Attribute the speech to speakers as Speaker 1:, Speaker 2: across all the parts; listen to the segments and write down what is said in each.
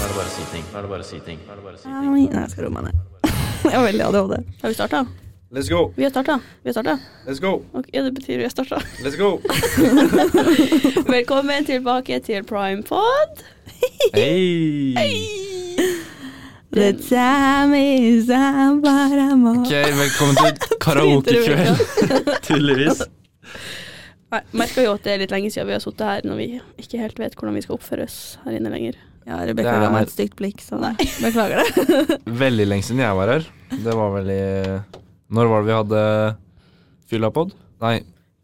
Speaker 1: er det bare å si ting. Da er det bare å si ting.
Speaker 2: Nei, jeg skal roe meg ned. Jeg har veldig ADHD.
Speaker 3: Har vi starta?
Speaker 4: Let's go,
Speaker 3: Vi har starta. Vi har starta.
Speaker 4: let's go,
Speaker 3: Ok, det betyr vi har starta.
Speaker 4: let's go.
Speaker 3: Velkommen tilbake til Primepod.
Speaker 1: Hei!
Speaker 2: The time is up, but I'm
Speaker 1: Ok,
Speaker 2: all-
Speaker 1: velkommen til karaokekveld. Tydeligvis.
Speaker 3: Nei, Merka jo at det er litt lenge siden vi har sittet her når vi ikke helt vet hvordan vi skal oppføre oss her inne lenger.
Speaker 2: Ja,
Speaker 4: Det
Speaker 2: Rebekka
Speaker 4: er-
Speaker 2: ga meg et stygt blikk, så nei, beklager det.
Speaker 4: Veldig lenge siden jeg var her. Det var vel i Når var det vi hadde fyllapod? Nei.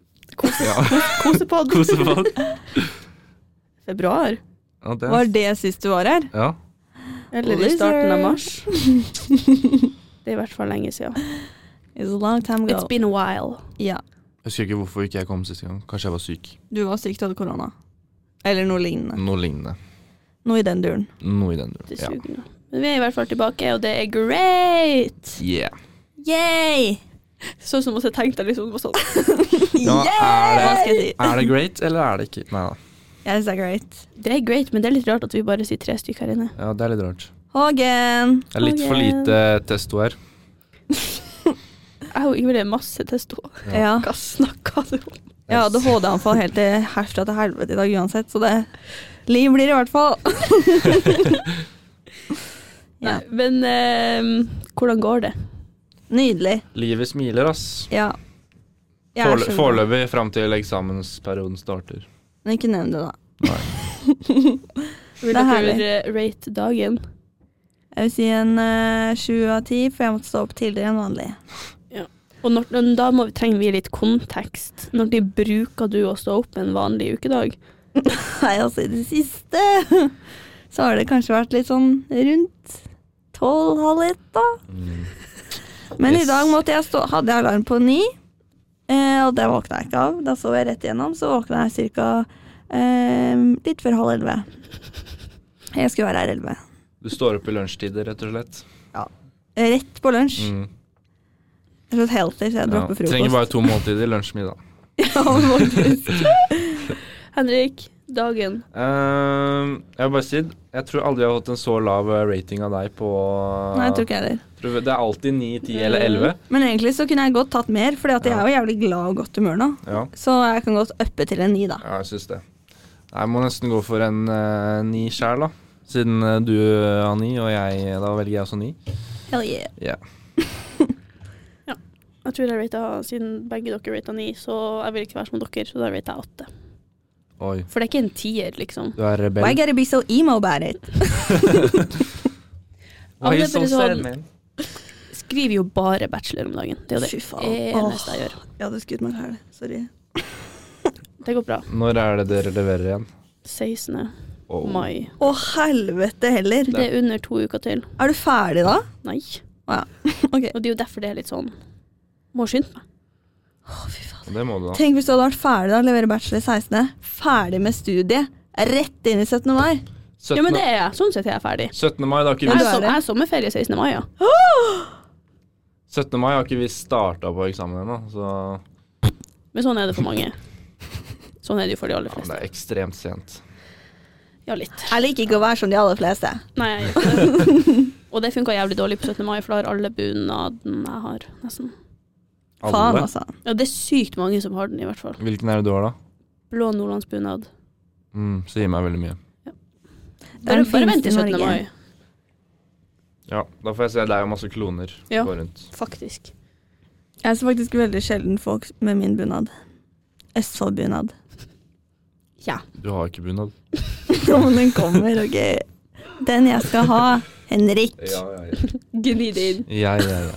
Speaker 3: Kose,
Speaker 4: Ja.
Speaker 3: kosepod.
Speaker 1: Kosepod.
Speaker 3: Februar.
Speaker 4: Ja, det.
Speaker 2: Var det sist du var her?
Speaker 4: Ja.
Speaker 3: Eller i starten
Speaker 2: Loser.
Speaker 3: av mars. Det er i hvert fall lenge siden.
Speaker 2: It's a long time ago.
Speaker 3: It's been a while.
Speaker 2: Ja,
Speaker 4: Jeg husker ikke hvorfor ikke jeg kom sist gang. Kanskje jeg var syk.
Speaker 2: du var syk, du hadde korona. Eller noe lignende.
Speaker 4: Noe lignende.
Speaker 2: Noe i den duren.
Speaker 4: Noe i den duren.
Speaker 3: Det suger nå. Men vi er i hvert fall tilbake, og det er great!
Speaker 4: Ja. Yeah.
Speaker 2: Yay!
Speaker 3: Sånn som jeg tenkte liksom bare sånn.
Speaker 4: Ja,
Speaker 2: Hva
Speaker 4: er,
Speaker 2: skal jeg si?
Speaker 4: det, er det great, eller er det ikke? Nei da.
Speaker 2: Yes, that's great.
Speaker 3: Det er great, men det er litt rart at vi bare sier tre stykker her inne.
Speaker 4: Ja, det er litt rart.
Speaker 2: Hågen!
Speaker 4: Det er litt for lite testo her.
Speaker 3: Jeg og Ingvild er masse testo.
Speaker 2: Ja.
Speaker 3: Hva snakker du om?
Speaker 2: Jeg hadde HD-anfall helt til herfra til helvete i dag uansett, så det Liv blir det i hvert fall. ja.
Speaker 3: Nei, Men eh, hvordan går det?
Speaker 2: Nydelig.
Speaker 4: Livet smiler, ass.
Speaker 2: Ja. Jeg er
Speaker 4: Forel-
Speaker 2: så glad.
Speaker 4: Foreløpig fram til eksamensperioden starter.
Speaker 2: Men ikke nevn det, da.
Speaker 3: Vil
Speaker 2: Det er
Speaker 3: dere
Speaker 2: herlig.
Speaker 3: eh, rate dagen?
Speaker 2: Jeg vil si en eh, sju av ti, for jeg måtte stå opp tidligere enn vanlig.
Speaker 3: Og når, men da må vi, trenger vi litt kontekst. Når de bruker du å stå opp en vanlig ukedag?
Speaker 2: Nei, altså i det siste så har det kanskje vært litt sånn rundt tolv, halv ett, da.
Speaker 4: Mm.
Speaker 2: Men
Speaker 4: Yes.
Speaker 2: i dag måtte jeg stå, hadde jeg alarm på ni, eh, og det våkna jeg ikke av. Da sov jeg rett igjennom, så våkna jeg ca. Eh, litt før halv elleve. Jeg skulle være her elleve.
Speaker 4: Du står opp i lunsjtider, rett og slett.
Speaker 2: Rett på lunsj.
Speaker 4: Mm.
Speaker 2: Jeg er så healthy, så jeg
Speaker 4: Ja.
Speaker 2: dropper frokost.
Speaker 4: Trenger bare to måltider lunsj middag.
Speaker 2: ja, faktisk.
Speaker 3: Henrik, dagen.
Speaker 4: Ehm, jeg vil bare si Jeg tror aldri jeg har hatt en så lav eh, rating av deg på
Speaker 2: Nei, jeg tror ikke Mm. jeg heller.
Speaker 4: Tror- Det er alltid 9, 10 eller 11.
Speaker 2: Men egentlig så kunne jeg godt tatt mer, for jeg
Speaker 4: Ja.
Speaker 2: er jo jævlig glad og godt humør nå.
Speaker 4: Ja,
Speaker 2: Så jeg kan godt uppe til en ni, da.
Speaker 4: ja jeg syns det. Jeg må nesten gå for en eh, 9 sjæl, da. Siden eh, du har 9, og jeg Da velger jeg også 9.
Speaker 2: Hell yeah.
Speaker 4: Ja.
Speaker 3: Jeg tror jeg ratet, Siden begge dere rata ni, så jeg vil ikke være som dere, så da rata jeg åtte.
Speaker 4: Oi.
Speaker 3: For det er ikke en tier, liksom.
Speaker 4: Du er
Speaker 2: Why
Speaker 4: rebell.
Speaker 2: gotta be so emo about it?
Speaker 3: Alle
Speaker 4: Why so
Speaker 3: bare
Speaker 4: sad,
Speaker 3: sånn-
Speaker 4: man?
Speaker 3: Skriver jo bare bachelor om dagen. Det er jo det
Speaker 2: Fy faen.
Speaker 3: eneste jeg gjør.
Speaker 2: Jeg hadde skutt meg sjæl. Sorry.
Speaker 3: Det går bra.
Speaker 4: Når er det dere leverer igjen?
Speaker 3: 16.
Speaker 4: Oh.
Speaker 3: mai.
Speaker 2: Å, helvete heller.
Speaker 3: Det er under to uker til.
Speaker 2: Er du ferdig da?
Speaker 3: Nei.
Speaker 2: Å ja. Ok.
Speaker 3: Og det er jo derfor det er litt sånn Må skynde meg.
Speaker 4: Det må du, da.
Speaker 2: Tenk hvis du hadde vært ferdig da, levere bachelor 16. Ferdig med studiet. Rett inn i 17. mai.
Speaker 4: 17.
Speaker 3: Ja, men det er jeg. Sånn sett er jeg ferdig.
Speaker 4: 17. mai, da har ikke
Speaker 2: Ja, du
Speaker 3: Jeg er,
Speaker 4: vi,
Speaker 2: er
Speaker 3: som,
Speaker 2: det.
Speaker 3: jeg er sommerferie 16. mai, ja.
Speaker 4: 17. mai har ikke vi starta på eksamen ennå, så
Speaker 3: Men sånn er det for mange. Sånn er det jo for de aller
Speaker 4: ja, men det
Speaker 3: fleste.
Speaker 4: er ekstremt sent.
Speaker 3: Ja, litt.
Speaker 2: Jeg liker ikke å være som de aller fleste.
Speaker 3: Nei, jeg gjør ikke det. Og det funka jævlig dårlig på 17. mai, for da har alle bunaden jeg har, nesten.
Speaker 2: Faen,
Speaker 4: Alle?
Speaker 2: altså.
Speaker 3: Ja, det er sykt mange som har den, i hvert fall.
Speaker 4: Hvilken er det du har, da?
Speaker 3: Blå nordlandsbunad.
Speaker 4: Mm, så gir meg veldig mye.
Speaker 2: er
Speaker 3: Bare,
Speaker 2: den
Speaker 3: bare vent
Speaker 2: fineste
Speaker 3: til
Speaker 2: i
Speaker 3: 17.
Speaker 2: Norge.
Speaker 3: mai,
Speaker 4: Ja, da får jeg se deg og masse kloner
Speaker 3: Ja.
Speaker 4: gå rundt.
Speaker 3: faktisk.
Speaker 2: Jeg ser faktisk veldig sjelden folk med min bunad. Østfold-bunad.
Speaker 3: Ja.
Speaker 4: Du har ikke bunad?
Speaker 2: Om den kommer, ok. Den jeg skal ha. Henrik.
Speaker 4: ja, ja.
Speaker 3: Gni det inn.
Speaker 4: ja, ja, ja.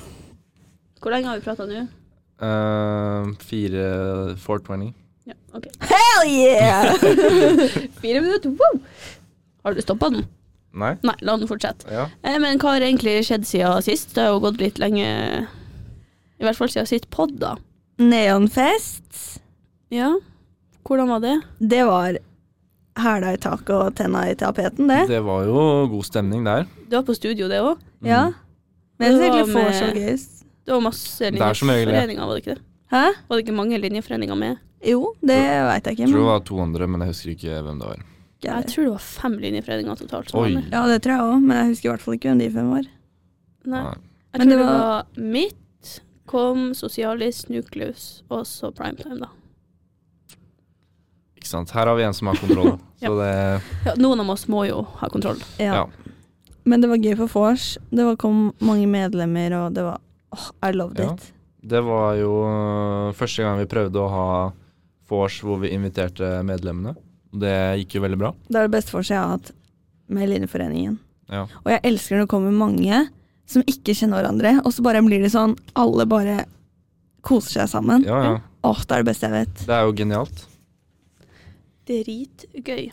Speaker 3: Hvor lenge har vi prata nå?
Speaker 4: Ehm, fire 420.
Speaker 3: Ja, ok.
Speaker 2: Hell yeah!
Speaker 3: Fire minutter, wow! Har du stoppa den?
Speaker 4: Nei?
Speaker 3: Nei, la den fortsette.
Speaker 4: Ja.
Speaker 3: Eh, Men hva har egentlig skjedd siden sist? Det har jo gått litt lenge I hvert fall siden sitt pod, da.
Speaker 2: Neonfest.
Speaker 3: Ja. Hvordan var det?
Speaker 2: Det var hæla i taket og tenna i tapeten, det.
Speaker 4: Det var jo god stemning der. Mm.
Speaker 3: Det var på studio, det òg.
Speaker 2: Ja. Men jeg
Speaker 3: Det
Speaker 2: synes
Speaker 3: var
Speaker 2: egentlig vors og
Speaker 3: med-
Speaker 2: gøyest.
Speaker 3: Det var masse
Speaker 4: Det er som regel det.
Speaker 3: linjeforeninger, var det ikke det?
Speaker 2: Hæ?
Speaker 3: Var det ikke mange linjeforeninger med?
Speaker 2: Jo, det veit jeg ikke.
Speaker 4: Jeg tror
Speaker 2: Men
Speaker 4: det var 200, men jeg husker ikke hvem det var.
Speaker 2: husker
Speaker 3: Jeg
Speaker 2: jeg.
Speaker 3: tror det var fem linjeforeninger totalt. som
Speaker 4: Oi.
Speaker 3: var med.
Speaker 2: Ja, det tror jeg òg, men jeg husker i hvert fall ikke hvem de fem var.
Speaker 3: Nei.
Speaker 4: Nei.
Speaker 3: Jeg
Speaker 2: Men det
Speaker 3: tror det var,
Speaker 2: var-
Speaker 3: mitt, kom, sosialist, nucleus og så primetime, da.
Speaker 4: Ikke sant. Her har vi en som har kontroll.
Speaker 3: Ja.
Speaker 4: Så det
Speaker 3: Ja, noen av oss må jo ha kontroll.
Speaker 2: Ja.
Speaker 4: Ja.
Speaker 2: Men det var gøy for vors. Det var, kom mange medlemmer, og det var åh, I loved
Speaker 4: Ja.
Speaker 2: it.
Speaker 4: Det var jo eh, første gang vi prøvde å ha vors hvor vi inviterte medlemmene. Det gikk jo veldig bra.
Speaker 2: Det er det beste vorset jeg har hatt med Linjeforeningen.
Speaker 4: Ja.
Speaker 2: Og jeg elsker når det kommer mange som ikke kjenner hverandre, og så bare blir det sånn alle bare koser seg sammen.
Speaker 4: Ja, ja.
Speaker 2: Åh, det er det beste jeg vet.
Speaker 4: Det er jo genialt.
Speaker 3: Dritgøy.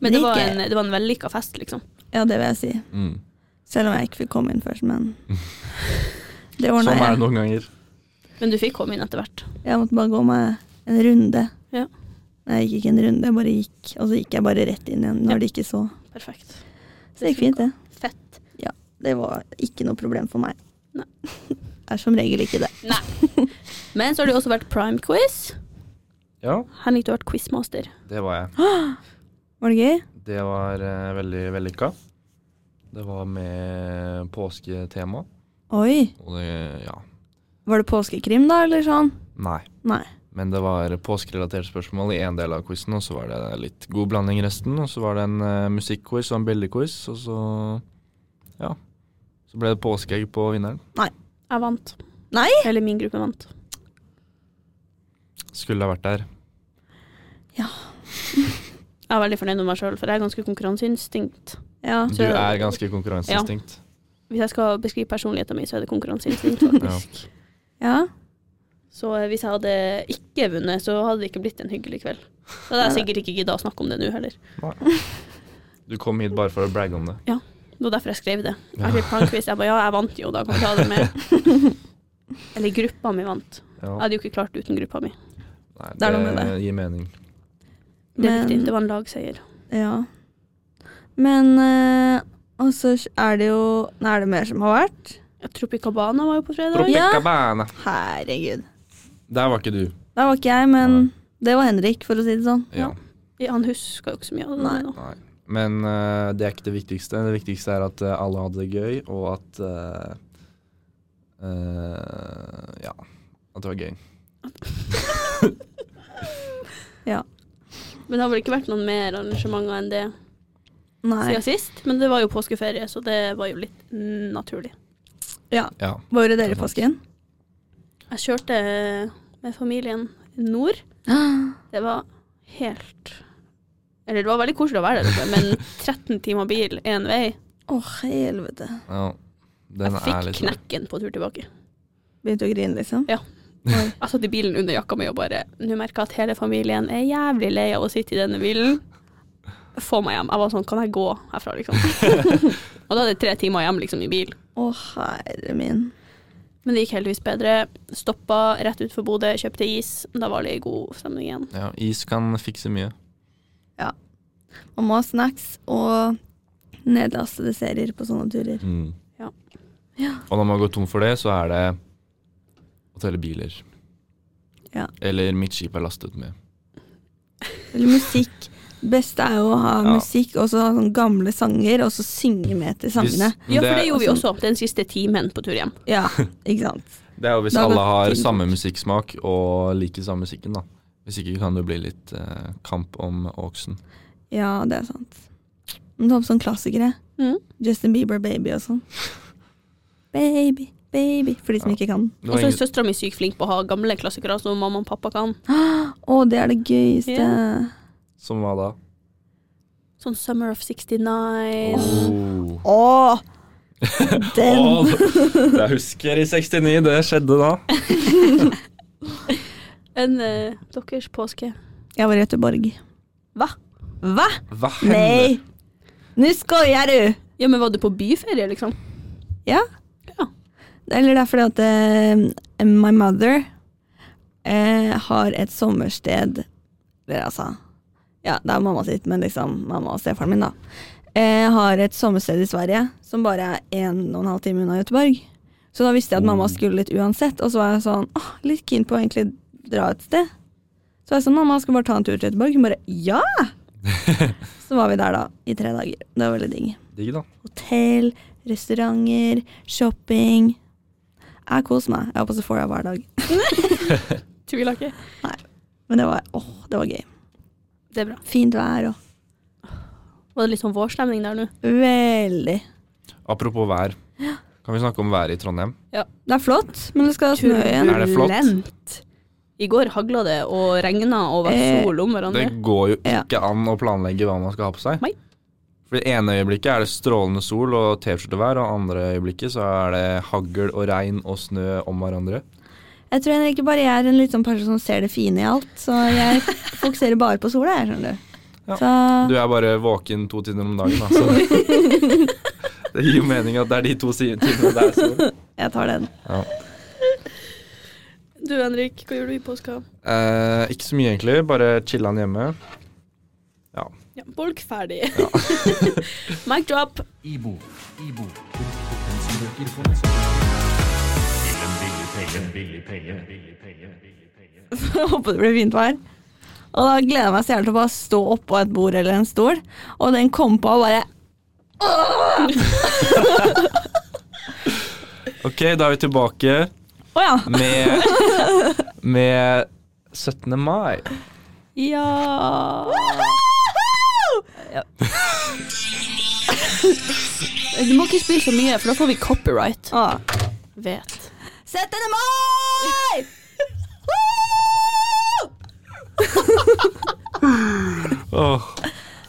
Speaker 3: Men det var en, det var en vellykka fest, liksom.
Speaker 2: Ja, det vil jeg si.
Speaker 4: Mm.
Speaker 2: Selv om jeg ikke fikk komme inn først, men Det ordna
Speaker 4: Sånn er det
Speaker 2: jeg.
Speaker 4: noen ganger.
Speaker 3: Men du fikk komme inn etter hvert.
Speaker 2: Jeg måtte bare gå meg en runde.
Speaker 3: Ja.
Speaker 2: Nei, Jeg gikk ikke en runde, jeg bare gikk. Og så gikk jeg bare rett inn igjen når
Speaker 3: Ja.
Speaker 2: de ikke så.
Speaker 3: Perfekt.
Speaker 2: Så det gikk fint, det.
Speaker 3: Fett.
Speaker 2: Det var ikke noe problem for meg.
Speaker 3: Nei.
Speaker 2: er som regel ikke det.
Speaker 3: Men så har det jo også vært prime-quiz.
Speaker 4: Ja,
Speaker 3: Henrik, du har vært quizmaster.
Speaker 4: det var jeg.
Speaker 2: Var det gøy?
Speaker 4: Det var eh, veldig vellykka. Det var med påsketema,
Speaker 2: Oi.
Speaker 4: og det ja.
Speaker 2: Var det påskekrim, da, eller sånn?
Speaker 4: Nei.
Speaker 2: Nei.
Speaker 4: Men det var påskerelaterte spørsmål i en del av quizen, og så var det litt god blanding i resten. Og så var det en uh, musikkquiz og en bildequiz, og så ja. Så ble det påskeegg på vinneren.
Speaker 3: Jeg vant.
Speaker 2: Nei?
Speaker 3: Eller min gruppe vant.
Speaker 4: Skulle ha vært der.
Speaker 3: Jeg er veldig fornøyd med meg sjøl, for jeg er ganske konkurranseinstinkt.
Speaker 2: Ja.
Speaker 4: Du er ganske konkurranseinstinkt.
Speaker 3: Hvis jeg skal beskrive personligheten min, så er det konkurranseinstinkt, faktisk.
Speaker 2: ja.
Speaker 3: Så eh, hvis jeg hadde ikke vunnet, så hadde det ikke blitt en hyggelig kveld. Da hadde jeg sikkert ikke gidda å snakke om det nå heller.
Speaker 4: Du kom hit bare for å bragge om det.
Speaker 3: Det var derfor jeg skrev det. Jeg fikk plankquiz. Jeg bare ja, jeg vant jo, da kan jeg ta det med. Eller gruppa mi vant.
Speaker 4: Ja.
Speaker 3: Jeg hadde jo ikke klart det uten gruppa mi.
Speaker 4: Nei,
Speaker 2: Det er noe med det.
Speaker 4: gir mening.
Speaker 3: Det er
Speaker 2: Men-
Speaker 3: viktig. Det var en lagseier.
Speaker 2: ja. Men eh, Og så er det jo Nei, er det mer som har vært?
Speaker 3: Ja, Tropicabana var jo på fredag.
Speaker 2: Tropi-
Speaker 4: Tropicabana.
Speaker 2: Herregud.
Speaker 4: Der var ikke du.
Speaker 2: Der var ikke jeg, men det var Henrik, for å si det sånn.
Speaker 4: Ja.
Speaker 3: Ja, Han huska jo ikke så mye av det.
Speaker 2: Nei.
Speaker 3: nå.
Speaker 4: Nei. Men eh, det er ikke det viktigste. Det viktigste er at eh, alle hadde det gøy, og at eh, eh, Ja. At det var gøy.
Speaker 3: Men det har vel ikke vært noen mer arrangementer enn det
Speaker 2: Nei.
Speaker 3: siden sist. Men det var jo påskeferie, så det var jo litt naturlig.
Speaker 4: Ja.
Speaker 2: Hvor var dere i påsken?
Speaker 3: Jeg kjørte med familien nord. Det var helt Eller det var veldig koselig å være der, oppe, men 13 timer bil én vei
Speaker 2: Å, helvete.
Speaker 4: ja. Den
Speaker 3: Jeg
Speaker 4: er
Speaker 3: fikk
Speaker 4: litt sånn.
Speaker 3: knekken på tur tilbake.
Speaker 2: Begynte å grine, liksom?
Speaker 3: Jeg satt i bilen under jakka mi og bare Nå merker jeg at hele familien er jævlig lei av å sitte i denne bilen. Få meg hjem. Jeg var sånn, kan jeg gå herfra, liksom? og da hadde jeg tre timer hjem liksom, i bil.
Speaker 2: Å, herre min.
Speaker 3: Men det gikk heldigvis bedre. Stoppa rett utenfor Bodø, kjøpte is. Da var det god stemning igjen.
Speaker 4: Ja, is kan fikse mye.
Speaker 2: Man må ha snacks og nedlastede serier på sånne turer.
Speaker 4: Mm.
Speaker 3: Ja.
Speaker 2: Ja.
Speaker 4: Og når man går tom for det, så er det å telle biler.
Speaker 2: Ja.
Speaker 4: Eller mitt skip er lastet med.
Speaker 2: Eller musikk. Beste er jo å ha
Speaker 4: Ja.
Speaker 2: musikk og så ha sånne gamle sanger, og så synge med til sangene.
Speaker 4: Hvis-
Speaker 3: Ja, for det altså-
Speaker 4: det,
Speaker 3: gjorde vi også den siste timen på tur hjem.
Speaker 2: Ja, ikke sant.
Speaker 4: det er jo hvis
Speaker 2: Da går
Speaker 4: alle har
Speaker 2: ting fort.
Speaker 4: samme musikksmak og liker samme musikken, da. Hvis ikke kan det bli litt eh, kamp om oksen.
Speaker 2: Ja, det er sant. Men ta opp sånne klassikere.
Speaker 3: Mhm.
Speaker 2: Justin Bieber, Baby og sånn. Baby, baby. For de som
Speaker 4: Ja.
Speaker 2: ikke kan den.
Speaker 4: Det
Speaker 3: Og
Speaker 4: var
Speaker 3: så er
Speaker 4: ingen-
Speaker 3: søstera mi sykt flink på å ha gamle klassikere som mamma og pappa kan.
Speaker 2: Å, det er det gøyeste.
Speaker 4: Som hva da?
Speaker 3: Sånn Summer of 69.
Speaker 4: Oh.
Speaker 2: Å! Den!
Speaker 4: jeg husker i 69, det skjedde da.
Speaker 3: En eh, deres påske.
Speaker 2: Jeg var i Göteborg.
Speaker 3: Hva?
Speaker 2: Hva?
Speaker 4: Hva
Speaker 2: Nei! Nå skojar du!
Speaker 3: Ja, men var du på byferie, liksom?
Speaker 2: Ja.
Speaker 3: Ja.
Speaker 2: Eller det er fordi at eh, my mother eh, har et sommersted Eller altså Ja, det er mamma sitt, men liksom mamma og stefaren min, da. Eh, har et sommersted i Sverige som bare er en og en halv time unna Göteborg. Så da visste jeg at mamma skulle litt uansett, og så var jeg sånn åh, litt keen på å egentlig dra et sted. Så var jeg sånn, mamma skal vi bare ta en tur til Göteborg. Hun bare ja! Så var vi der da, i tre dager. Det var veldig digg.
Speaker 4: Digg, da.
Speaker 2: Hotell, restauranter, shopping. Jeg koser meg. Jeg var på Sephora hver dag.
Speaker 3: Tviler ikke.
Speaker 2: Men det var, åh, det var gøy.
Speaker 3: Det er bra.
Speaker 2: Fint vær og
Speaker 3: Var det litt sånn vårstemning der nå?
Speaker 2: veldig
Speaker 4: Apropos vær. Kan vi snakke om været i Trondheim?
Speaker 2: Det er flott, men det skal snø igjen.
Speaker 4: Er det flott?
Speaker 3: Turbulent. I går hagla det og regna og var
Speaker 2: Eh,
Speaker 3: sol om
Speaker 4: Det
Speaker 3: hverandre.
Speaker 4: går jo
Speaker 2: Ja.
Speaker 4: ikke an å planlegge hva man skal ha på seg.
Speaker 3: Nei.
Speaker 4: For det ene øyeblikket er det strålende sol og T-skjortevær, og andre øyeblikket så er det hagl og regn og snø om hverandre.
Speaker 2: Jeg tror Henrik bare jeg er en litt sånn person som ser det fine i alt, så jeg fokuserer bare på sola, jeg, skjønner du.
Speaker 4: Ja.
Speaker 2: Så
Speaker 4: Du er bare våken to timer om dagen, altså. det gir jo mening at det er de to si- timene der. Så.
Speaker 2: jeg tar den.
Speaker 4: Ja.
Speaker 3: Du Henrik, hva gjorde du i påska?
Speaker 4: Eh, ikke så mye egentlig, bare chillan hjemme.
Speaker 3: Ja, Bolk ferdig. Mic drop.
Speaker 5: Ibo. Ibo. Pensumsbøker for neste En billig penge, en billig penge, en billig penge, en billig penge.
Speaker 2: Håper det blir fint vær. Og da gleder jeg meg så jævlig til å bare stå oppå et bord eller en stol, og den kom på og bare
Speaker 4: Ok, da er vi tilbake
Speaker 2: Å ja!
Speaker 4: med, med 17. mai.
Speaker 3: Ja Du må ikke spille så mye, for da får vi copyright.
Speaker 2: Ah.
Speaker 3: Vet.
Speaker 2: 17. mai!
Speaker 4: Åh,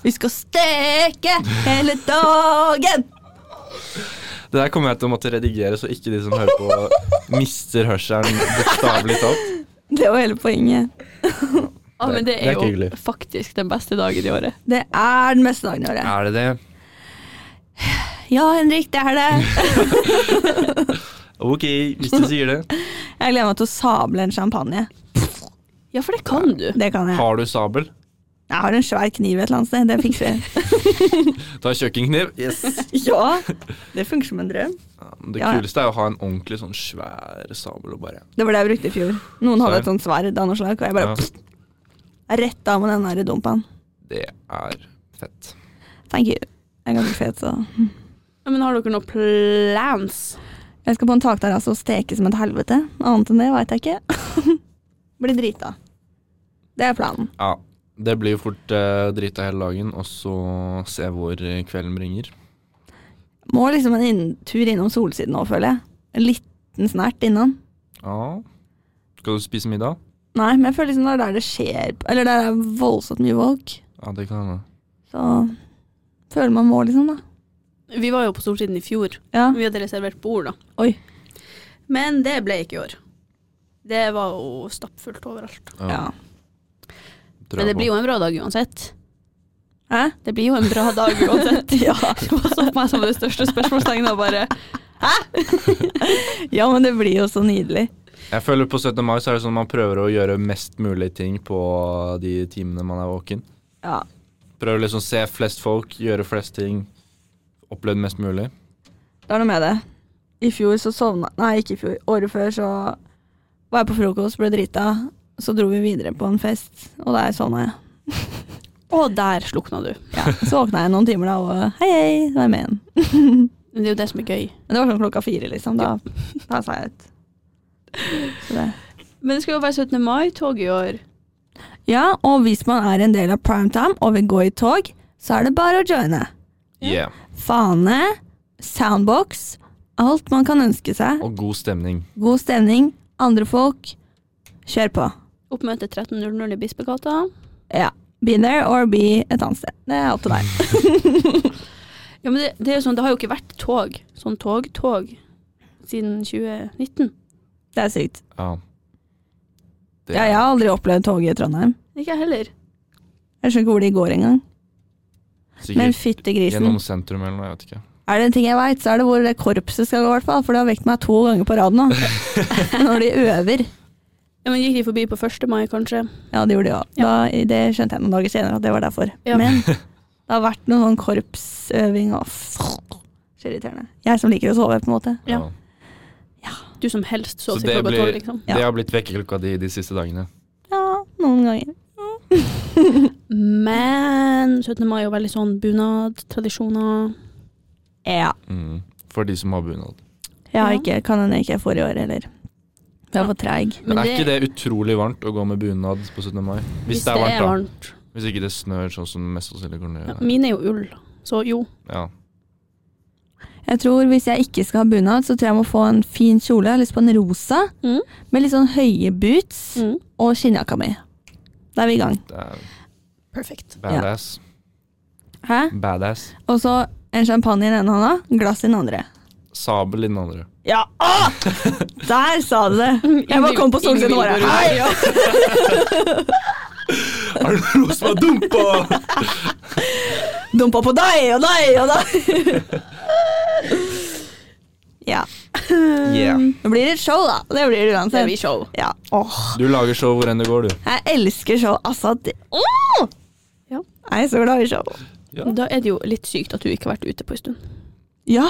Speaker 2: Vi skal steke hele dagen!
Speaker 4: Det der kommer jeg til å måtte redigere, så ikke de som hører på, mister hørselen bokstavelig talt.
Speaker 2: Det var hele poenget.
Speaker 3: Ah, men det
Speaker 4: Det er
Speaker 3: er
Speaker 4: ikke
Speaker 3: jo
Speaker 4: hyggelig.
Speaker 3: faktisk den beste dagen i året.
Speaker 2: Det er den beste dagen i året.
Speaker 4: Er det det?
Speaker 2: Ja, Henrik, det er det.
Speaker 4: Ok, hvis du sier det.
Speaker 2: Jeg gleder meg til å sable en champagne.
Speaker 3: Ja, for det kan du.
Speaker 2: Det kan jeg.
Speaker 4: Har du sabel?
Speaker 2: Jeg har en svær kniv et eller annet sted. Det fikser jeg.
Speaker 4: Ta kjøkkenkniv. Yes.
Speaker 2: Ja, det funker som en drøm.
Speaker 4: Det
Speaker 2: Ja, ja.
Speaker 4: kuleste er å ha en ordentlig sånn svær sabel og bare
Speaker 2: Det var det jeg brukte i fjor. Noen hadde
Speaker 4: Sorry.
Speaker 2: et sånt sverd av noe slag, og jeg
Speaker 4: Ja.
Speaker 2: bare pst, rett av med den her dumpen.
Speaker 4: Det er fett.
Speaker 2: Thank you. Jeg er ganske fet, så
Speaker 3: Ja, men har dere noen plans?
Speaker 2: Jeg skal på en takterrasse og steke som et helvete. Annet enn det veit jeg ikke. Blir drita. Det er planen.
Speaker 4: Ja. Det blir jo fort eh, drita hele dagen, og så se hvor eh, kvelden bringer.
Speaker 2: Må liksom en inn tur innom solsiden nå, føler jeg. En liten snert innom.
Speaker 4: Ja. Skal du spise middag?
Speaker 2: Nei, men jeg føler liksom det er der det skjer Eller der er voldsomt mye folk.
Speaker 4: Ja, det kan hende.
Speaker 2: Så føler man må, liksom, da.
Speaker 3: Vi var jo på Storsiden i fjor.
Speaker 2: Ja.
Speaker 3: Vi hadde reservert bord, da.
Speaker 2: Oi.
Speaker 3: Men det ble ikke i år. Det var jo stappfullt overalt.
Speaker 2: ja.
Speaker 3: Men det blir jo en bra dag uansett.
Speaker 2: Hæ?
Speaker 3: Det blir jo en bra dag uansett.
Speaker 2: Ja.
Speaker 3: Det var så på meg som det største spørsmålstegnet. og bare
Speaker 2: ja, men det blir jo så nydelig.
Speaker 4: Jeg føler på 17. mai så er det sånn man prøver å gjøre mest mulig ting på de timene man er våken.
Speaker 2: Ja.
Speaker 4: Prøver liksom å se flest folk, gjøre flest ting, oppleve mest mulig.
Speaker 2: Det er noe med det. I fjor så sovna Nei, ikke i fjor. Året før så var jeg på frokost, ble drita. Så dro vi videre på en fest, og der sovna jeg.
Speaker 3: Og der slukna du.
Speaker 2: Ja, så våkna jeg noen timer da, og hei, hei, så var jeg med igjen.
Speaker 3: Men det er jo det som er gøy.
Speaker 2: Men det var sånn klokka fire, liksom. Da, da sa jeg ut. Så det.
Speaker 3: Men det skal jo være 17. mai-tog i år.
Speaker 2: Ja, og hvis man er en del av primetime og vil gå i tog, så er det bare å joine.
Speaker 4: Yeah.
Speaker 2: Fane, soundbox, alt man kan ønske seg.
Speaker 4: Og god stemning.
Speaker 2: God stemning, andre folk. Kjør på.
Speaker 3: Oppmøte 13.00 i Bispegata.
Speaker 2: Ja. Be there or be et annet sted. Det er opp til deg.
Speaker 3: Ja, men det, det er jo sånn, det har jo ikke vært tog, sånn tog-tog, siden 2019.
Speaker 2: Det er sykt.
Speaker 4: Ja. Det
Speaker 2: Ja, jeg har aldri opplevd tog i Trondheim.
Speaker 3: Ikke jeg heller.
Speaker 2: Jeg skjønner ikke hvor de går engang.
Speaker 4: er sikkert
Speaker 2: Men fytti grisen.
Speaker 4: Gjennom sentrum eller noe, jeg vet ikke.
Speaker 2: Er det en ting jeg veit, så er det hvor det korpset skal gå, i hvert fall. For det har vekt meg to ganger på rad nå. Når de øver.
Speaker 3: Ja, men Gikk de forbi på 1. mai, kanskje?
Speaker 2: Ja, det gjorde de òg.
Speaker 3: Ja.
Speaker 2: Det skjønte jeg noen dager senere at det var derfor.
Speaker 3: Ja.
Speaker 2: Men det har vært noen sånn korpsøving og f- Så irriterende. Jeg som liker å sove, på en måte.
Speaker 3: Ja. Du som helst så,
Speaker 4: Så
Speaker 3: så
Speaker 4: det
Speaker 3: klokka
Speaker 4: blir-
Speaker 3: tolv, liksom.
Speaker 2: Ja.
Speaker 4: Det har blitt vekkerklokka di de siste dagene.
Speaker 2: Ja, noen ganger.
Speaker 3: Men Men 17. mai er jo veldig sånn bunad, tradisjoner.
Speaker 2: Ja.
Speaker 4: Mm. For de som har bunad.
Speaker 2: Jeg har
Speaker 3: Ja.
Speaker 2: ikke, kan hende ikke forrige år heller. Jeg var for treig.
Speaker 4: Men, er ikke det utrolig varmt å gå med bunad på 17. mai? Hvis, det er varmt, da. Hvis ikke det snør sånn som mest sannsynlig kommer
Speaker 3: Ja,
Speaker 4: til å gjøre.
Speaker 3: mine er jo ull, så jo.
Speaker 4: Ja.
Speaker 2: Jeg tror Hvis jeg ikke skal ha bunad, så tror jeg jeg må få en fin kjole. Jeg har lyst på en rosa
Speaker 3: Mm.
Speaker 2: med litt sånn høye boots og skinnjakka mi. Da er vi i gang.
Speaker 4: Det er
Speaker 3: Perfekt.
Speaker 4: badass.
Speaker 2: Hæ?
Speaker 4: Badass.
Speaker 2: Og så en champagne i den ene hånda, glass i den andre.
Speaker 4: Sabel i den andre.
Speaker 2: Ja! Å! Der sa du det! Jeg bare kom på solsiden og bare Hei!
Speaker 4: Er det noe som er dumpa?!
Speaker 2: Dumpa på deg og deg og deg! ja.
Speaker 4: Yeah.
Speaker 2: Det blir et show, da. Det blir det
Speaker 3: Det
Speaker 2: uansett.
Speaker 3: blir show.
Speaker 2: Ja. Åh,
Speaker 4: Du lager show hvor enn det går, du.
Speaker 2: jeg elsker show. Altså det Åh!
Speaker 3: Ja.
Speaker 2: Jeg er så glad i show.
Speaker 4: Ja.
Speaker 3: Da er det jo litt sykt at du ikke har vært ute på en stund.
Speaker 2: Ja.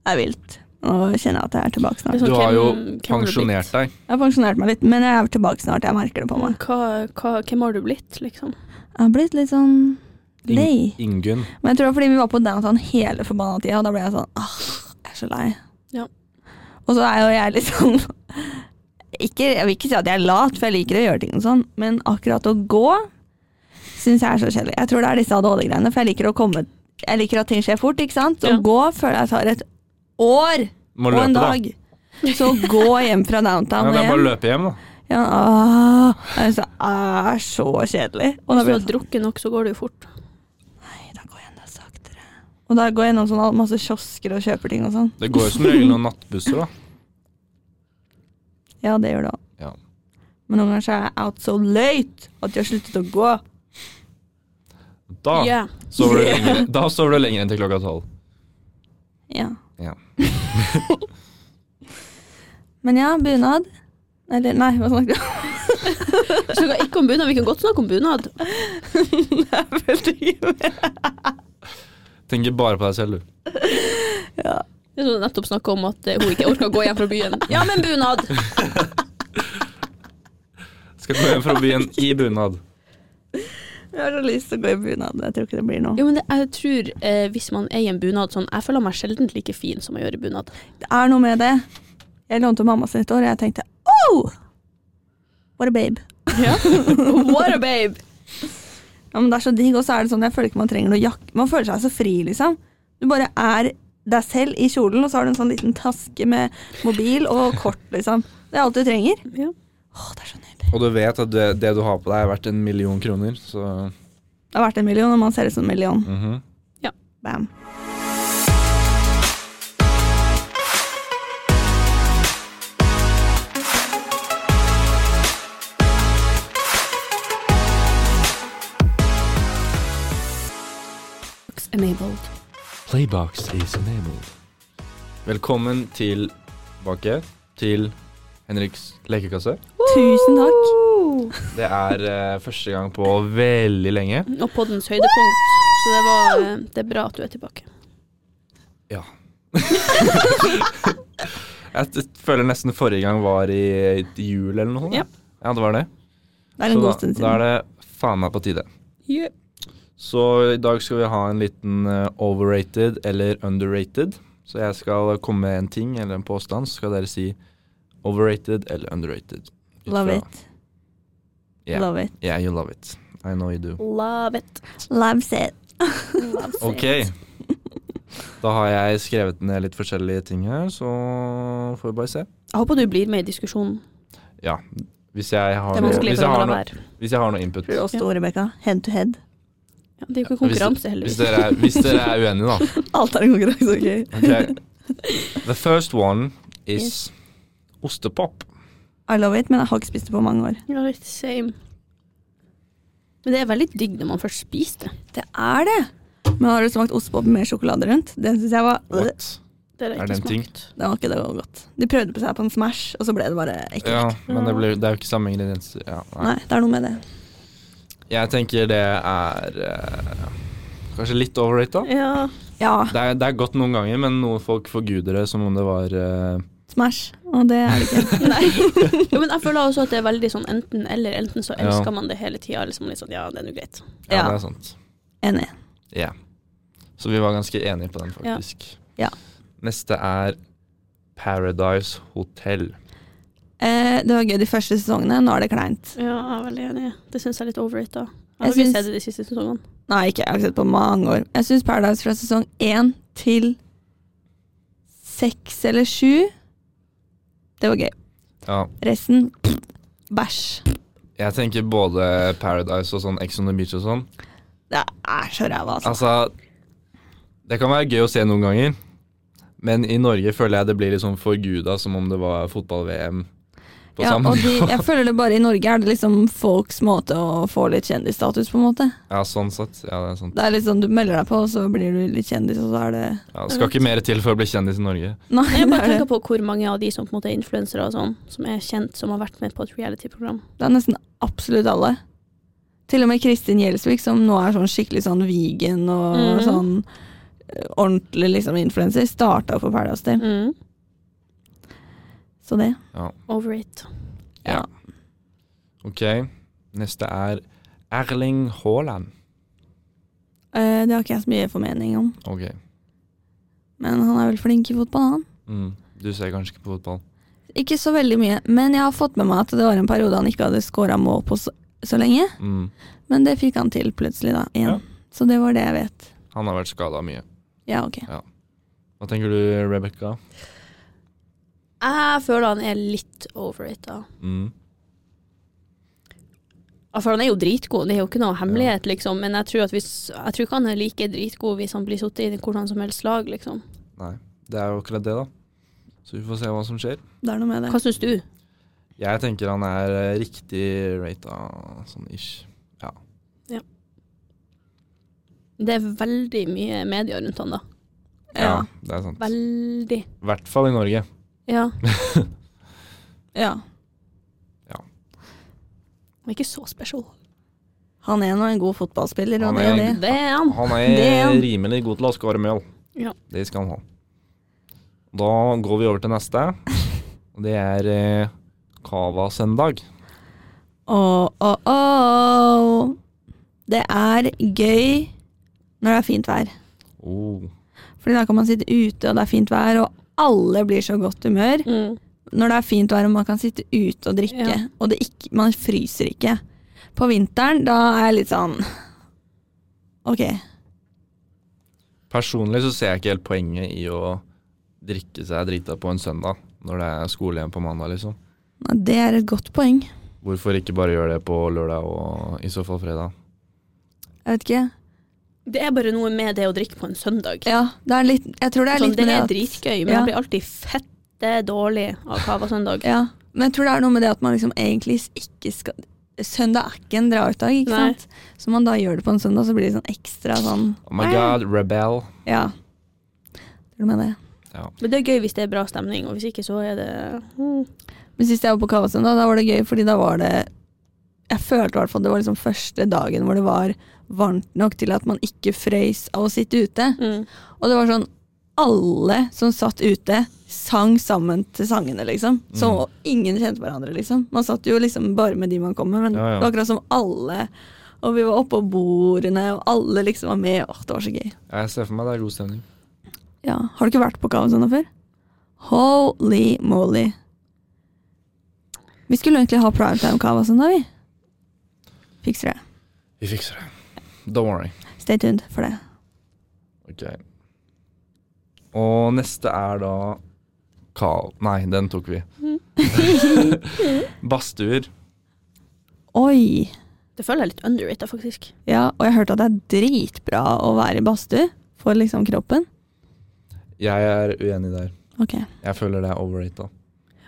Speaker 2: Det er vilt. Nå kjenner jeg at jeg er tilbake
Speaker 3: Det
Speaker 2: snart.
Speaker 3: er sånn,
Speaker 4: Du har
Speaker 3: hvem-
Speaker 4: jo
Speaker 3: hvem har du
Speaker 4: pensjonert
Speaker 3: blitt?
Speaker 4: deg.
Speaker 2: Jeg har pensjonert meg litt, men jeg er tilbake snart. Jeg merker det på meg.
Speaker 3: Mm, Hva, hva, hvem har du blitt, liksom?
Speaker 2: Jeg har blitt litt sånn lei.
Speaker 4: Ingunn.
Speaker 2: Men jeg tror det var fordi vi var på downtown hele forbanna tida, og da ble jeg sånn Åh, jeg er så lei.
Speaker 3: Ja.
Speaker 2: Og så er jo jeg liksom ikke, Jeg vil ikke si at jeg er lat, for jeg liker å gjøre ting og sånn, men akkurat å gå syns jeg er så kjedelig. Jeg tror det er disse ADHD-greiene, for jeg liker å komme Jeg liker at ting skjer fort, ikke sant? Å
Speaker 3: Ja.
Speaker 2: gå føler jeg tar et år
Speaker 4: Må
Speaker 2: og
Speaker 4: løpe,
Speaker 2: en
Speaker 4: da.
Speaker 2: dag. Så gå hjem fra
Speaker 4: Ja,
Speaker 2: downtown
Speaker 4: det
Speaker 2: og
Speaker 4: er bare å
Speaker 2: hjem.
Speaker 4: løpe hjem, da.
Speaker 2: Ja, åh, jeg synes det er så kjedelig. Og da
Speaker 3: Hvis du
Speaker 2: blir jeg sånn,
Speaker 3: har drukket nok, så går det jo fort.
Speaker 2: Nei, da går jeg ned saktere. Og da går jeg gjennom sånn masse kiosker og kjøper ting og sånn.
Speaker 4: Det går jo som regel noen nattbusser, da.
Speaker 2: Ja, det gjør det òg.
Speaker 4: Ja.
Speaker 2: Men noen ganger så er jeg out so late at de har sluttet å gå.
Speaker 4: Da
Speaker 3: Yeah.
Speaker 4: sover du lenger, da sover du lenger enn til klokka tolv.
Speaker 2: Ja.
Speaker 4: Ja.
Speaker 2: Men ja, bunad. Eller nei, hva snakker du om?
Speaker 3: Vi snakker ikke om bunad, vi kan godt snakke om bunad.
Speaker 2: Jeg følte ikke med.
Speaker 4: Tenker bare på deg selv, du.
Speaker 3: Det er sånn nettopp snakket om at eh, hun ikke orker å gå hjem fra byen. Ja, men bunad!
Speaker 4: Skal gå hjem fra byen i bunad.
Speaker 2: Jeg har så lyst til å gå i bunad, men jeg tror ikke det blir noe.
Speaker 3: Jo, men det, jeg tror eh, hvis man er i en bunad sånn Jeg føler meg sjelden like fin som jeg gjør i bunad.
Speaker 2: Det er noe med det. Jeg lånte mamma sitt hår, og jeg tenkte oh! What a babe.
Speaker 3: What a babe!
Speaker 2: Ja, men det er så digg, og så er det sånn, jeg føler ikke man trenger noe jakke. Man føler seg så fri, liksom. Du bare er deg selv i kjolen, og så har du en sånn liten taske med mobil og kort, liksom. Det er alt du trenger.
Speaker 3: Ja.
Speaker 2: Åh, det er så nydelig.
Speaker 4: Og du vet at det, det du har på deg, er verdt en million kroner, så
Speaker 2: Det har vært en million, og man ser ut som en million.
Speaker 4: mhm.
Speaker 2: Bam.
Speaker 3: Enabled.
Speaker 1: Playbox is enabled.
Speaker 4: Velkommen tilbake til Henriks lekekasse.
Speaker 2: Tusen takk.
Speaker 4: Det er eh, første gang på veldig lenge.
Speaker 3: Og poddens høydepunkt. Så det, var, eh, det er bra at du er tilbake.
Speaker 4: Jeg t- føler nesten forrige gang var i, i jul eller noe sånt.
Speaker 3: Ja.
Speaker 4: ja, det var det.
Speaker 2: Det er en
Speaker 4: Så
Speaker 2: god
Speaker 4: da-
Speaker 2: stund
Speaker 4: Da
Speaker 2: siden.
Speaker 4: er det faen meg på tide. Så i dag skal vi ha en liten eh, overrated eller underrated. Så jeg skal komme med en ting eller en påstand, så skal dere si overrated eller underrated. Ut
Speaker 2: Love
Speaker 4: fra-
Speaker 2: it.
Speaker 4: Yeah.
Speaker 2: Love it.
Speaker 4: Yeah, you love it. I know you do.
Speaker 3: Love it.
Speaker 2: Loves it.
Speaker 4: Ok. Da har jeg skrevet ned litt forskjellige ting her, så får vi bare se.
Speaker 3: Jeg håper du blir med i diskusjonen.
Speaker 4: Ja. Hvis jeg har,
Speaker 3: Det er
Speaker 4: noe,
Speaker 3: vanskelig
Speaker 4: hvis
Speaker 3: for
Speaker 4: jeg
Speaker 3: å
Speaker 4: har,
Speaker 3: la
Speaker 4: noe,
Speaker 3: være.
Speaker 4: hvis jeg har noe input.
Speaker 2: Tror du også det, Rebecca? Head to head.
Speaker 3: Ja, det er jo ikke
Speaker 4: Hvis-
Speaker 3: konkurranse heller.
Speaker 4: Hvis dere, er- hvis dere er uenige, da.
Speaker 2: Alt er en konkurranse, ok?
Speaker 4: Okay. The first one is ostepop.
Speaker 2: I love it, men jeg har ikke spist det på mange år.
Speaker 3: Ja, litt same. Men det er veldig digg når man først spiser det.
Speaker 2: Det er det. Men har du smakt ostepop med sjokolade rundt? Den synes jeg var...
Speaker 4: What?
Speaker 3: Det har jeg
Speaker 4: Er
Speaker 3: ikke
Speaker 4: det en ting?
Speaker 3: smakt.
Speaker 2: Det var ikke det var godt. De prøvde på seg på en Smash, og så ble det bare ekkelt.
Speaker 4: Ja, men det, blir, det er jo ikke samme ingredienser. Ja, nei.
Speaker 2: Nei, det er noe med det.
Speaker 4: Jeg tenker det er eh, kanskje litt overrated.
Speaker 3: Ja.
Speaker 2: Ja,
Speaker 4: Det er, det er godt noen ganger, men noen folk forguder det som om det var eh,
Speaker 2: Smash. Og det er det ikke.
Speaker 3: Nei. Jo, men jeg føler også at det er veldig sånn enten eller. Enten så
Speaker 4: Ja.
Speaker 3: elsker man det hele tida, eller så er man litt sånn ja, det er nå greit.
Speaker 4: ja,
Speaker 2: Ja.
Speaker 4: det er sant.
Speaker 2: Enig.
Speaker 4: Ja. Så vi var ganske enige på den,
Speaker 3: Ja.
Speaker 4: faktisk.
Speaker 2: Ja.
Speaker 4: Neste er Paradise Hotel.
Speaker 2: Eh, det var gøy de første sesongene, nå er det kleint.
Speaker 3: Ja, jeg er veldig enig. Det syns jeg er litt overrated. Jeg
Speaker 2: Jeg
Speaker 3: har ikke
Speaker 2: syns-
Speaker 3: sett det de siste sesongene.
Speaker 2: Nei, ikke jeg har ikke sett på mange år. Jeg syns Paradise fra sesong én til seks eller sju Det var gøy.
Speaker 4: Ja,
Speaker 2: Resten pff, bæsj.
Speaker 4: jeg tenker både Paradise og sånn Ex on the Beach og sånn.
Speaker 2: Det er så ræva, altså.
Speaker 4: Altså, det kan være gøy å se noen ganger, men i Norge føler jeg det blir litt sånn forguda som om det var fotball-VM på
Speaker 2: Ja,
Speaker 4: samme
Speaker 2: og de,
Speaker 4: måte.
Speaker 2: jeg føler det bare i Norge er det liksom folks måte å få litt kjendisstatus, på en måte.
Speaker 4: Ja, sånn sett. Ja, det er sant.
Speaker 2: Det er litt sånn du melder deg på, og så blir du litt kjendis, og så er det
Speaker 4: Ja, det skal ikke mer til for å bli kjendis i Norge.
Speaker 2: Nei,
Speaker 3: Jeg
Speaker 2: det
Speaker 3: bare
Speaker 2: er,
Speaker 3: tenker
Speaker 2: det.
Speaker 3: på hvor mange av de som på en måte er influensere og sånn, som er kjent, som har vært med på et reality-program.
Speaker 2: det er nesten absolutt alle. Til og med Kristin Gjelsvik, som nå er sånn skikkelig sånn vegan og
Speaker 3: Mhm.
Speaker 2: sånn eh, ordentlig liksom influenser, starta på Paradise Hotel.
Speaker 3: Mm.
Speaker 2: Så det.
Speaker 3: Over it.
Speaker 2: Ja.
Speaker 4: Ok, neste er Erling Haaland.
Speaker 2: Eh, det har ikke jeg så mye formening om,
Speaker 4: Ok,
Speaker 2: men han er vel flink i fotball, han.
Speaker 4: mm. du ser kanskje ikke på fotball.
Speaker 2: Ikke så veldig mye, men jeg har fått med meg at det var en periode han ikke hadde scora mål på så, så lenge.
Speaker 4: Mm.
Speaker 2: Men det fikk han til plutselig, da. Igjen.
Speaker 4: Ja.
Speaker 2: Så det var det jeg vet.
Speaker 4: Han har vært skada mye.
Speaker 2: Ja, ok.
Speaker 4: Hva tenker du, Rebekka?
Speaker 3: Jeg føler han er litt overrated.
Speaker 4: Mm.
Speaker 3: Ja, For Altså, han er jo dritgod, det er jo ikke noe hemmelighet, liksom. Men jeg tror, at hvis, jeg tror ikke han er like dritgod hvis han blir sittet i hvordan som helst lag, liksom.
Speaker 4: Nei, det er jo akkurat det, da. Så vi får se hva som skjer.
Speaker 2: Det er noe med det.
Speaker 3: Hva syns du?
Speaker 4: Jeg tenker han er eh, riktig rata, sånn ish.
Speaker 3: Det er veldig mye medier rundt han, da.
Speaker 2: Ja.
Speaker 4: det er sant.
Speaker 3: Veldig.
Speaker 4: I hvert fall i Norge.
Speaker 3: Ja.
Speaker 2: ja.
Speaker 3: Han er ikke så special.
Speaker 2: Han er nå en god fotballspiller,
Speaker 4: Han
Speaker 2: og det er
Speaker 4: er
Speaker 2: det.
Speaker 4: en-
Speaker 3: Det er han.
Speaker 4: Han
Speaker 2: Det er
Speaker 4: er
Speaker 2: han.
Speaker 4: rimelig god til å skåre mål.
Speaker 3: Ja.
Speaker 4: Det skal han ha. Da går vi over til neste. Og Det er eh, Cava søndag.
Speaker 2: Åh, åh, åh. Det er gøy når det er fint vær.
Speaker 4: Oh.
Speaker 2: Fordi da kan man sitte ute, og det er fint vær, og alle blir så godt humør.
Speaker 3: Mm.
Speaker 2: Når det er fint vær og man kan sitte ute og drikke,
Speaker 3: Ja.
Speaker 2: og det ikke, man fryser ikke. På vinteren, da er jeg litt sånn Ok.
Speaker 4: Personlig så ser jeg ikke helt poenget i å drikke seg drita på en søndag når det er skole igjen på mandag, liksom.
Speaker 2: Nei, Det er et godt poeng.
Speaker 4: Hvorfor ikke bare gjøre det på lørdag og i så fall fredag?
Speaker 2: Jeg vet ikke.
Speaker 3: Det er bare noe med det å drikke på en søndag.
Speaker 2: Ja, det er litt, jeg tror det er
Speaker 3: Sånn,
Speaker 2: litt
Speaker 3: det
Speaker 2: med
Speaker 3: er
Speaker 2: at-
Speaker 3: dritgøy, men
Speaker 2: ja.
Speaker 3: jeg blir alltid fette dårlig av Cava søndag.
Speaker 2: Ja, men jeg tror det er noe med det at man liksom egentlig ikke skal Søndag er ikke en dra-ut-dag, ikke
Speaker 3: Nei.
Speaker 2: sant? Så man da gjør det på en søndag, så blir det sånn ekstra sånn
Speaker 4: Oh my god, rebel.
Speaker 2: Ja. Det er noe med det.
Speaker 3: Men det er gøy hvis det er bra stemning, og hvis ikke så er det mm.
Speaker 2: Men sist jeg var på Kavasøndag, da var det gøy, fordi da var det Jeg følte i hvert fall det var liksom første dagen hvor det var varmt nok til at man ikke frøys av å sitte ute.
Speaker 3: Mm.
Speaker 2: Og det var sånn alle som satt ute, sang sammen til sangene, liksom. Som
Speaker 4: Mm.
Speaker 2: ingen kjente hverandre, liksom. Man satt jo liksom bare med de man kom med, men
Speaker 4: Ja, ja.
Speaker 2: det var akkurat som alle. Og vi var oppå bordene, og alle liksom var med. Åh, det var så gøy.
Speaker 4: Ja, Jeg ser for meg det er god stemning.
Speaker 2: Ja. Har du ikke vært på Kavasøndag før? Holy moly. Vi skulle egentlig ha primetime Kavasøndag, vi. Fikser det.
Speaker 4: Vi fikser det. Don't worry.
Speaker 2: Stay tuned for det.
Speaker 4: Ok. Og neste er da Carl. Nei, den tok vi. Badstuer.
Speaker 2: Oi!
Speaker 3: Det føler jeg er litt underrated, faktisk.
Speaker 2: Ja, og jeg hørte at det er dritbra å være i badstue for liksom kroppen.
Speaker 4: Jeg er uenig der.
Speaker 2: Ok.
Speaker 4: Jeg føler det er overrata.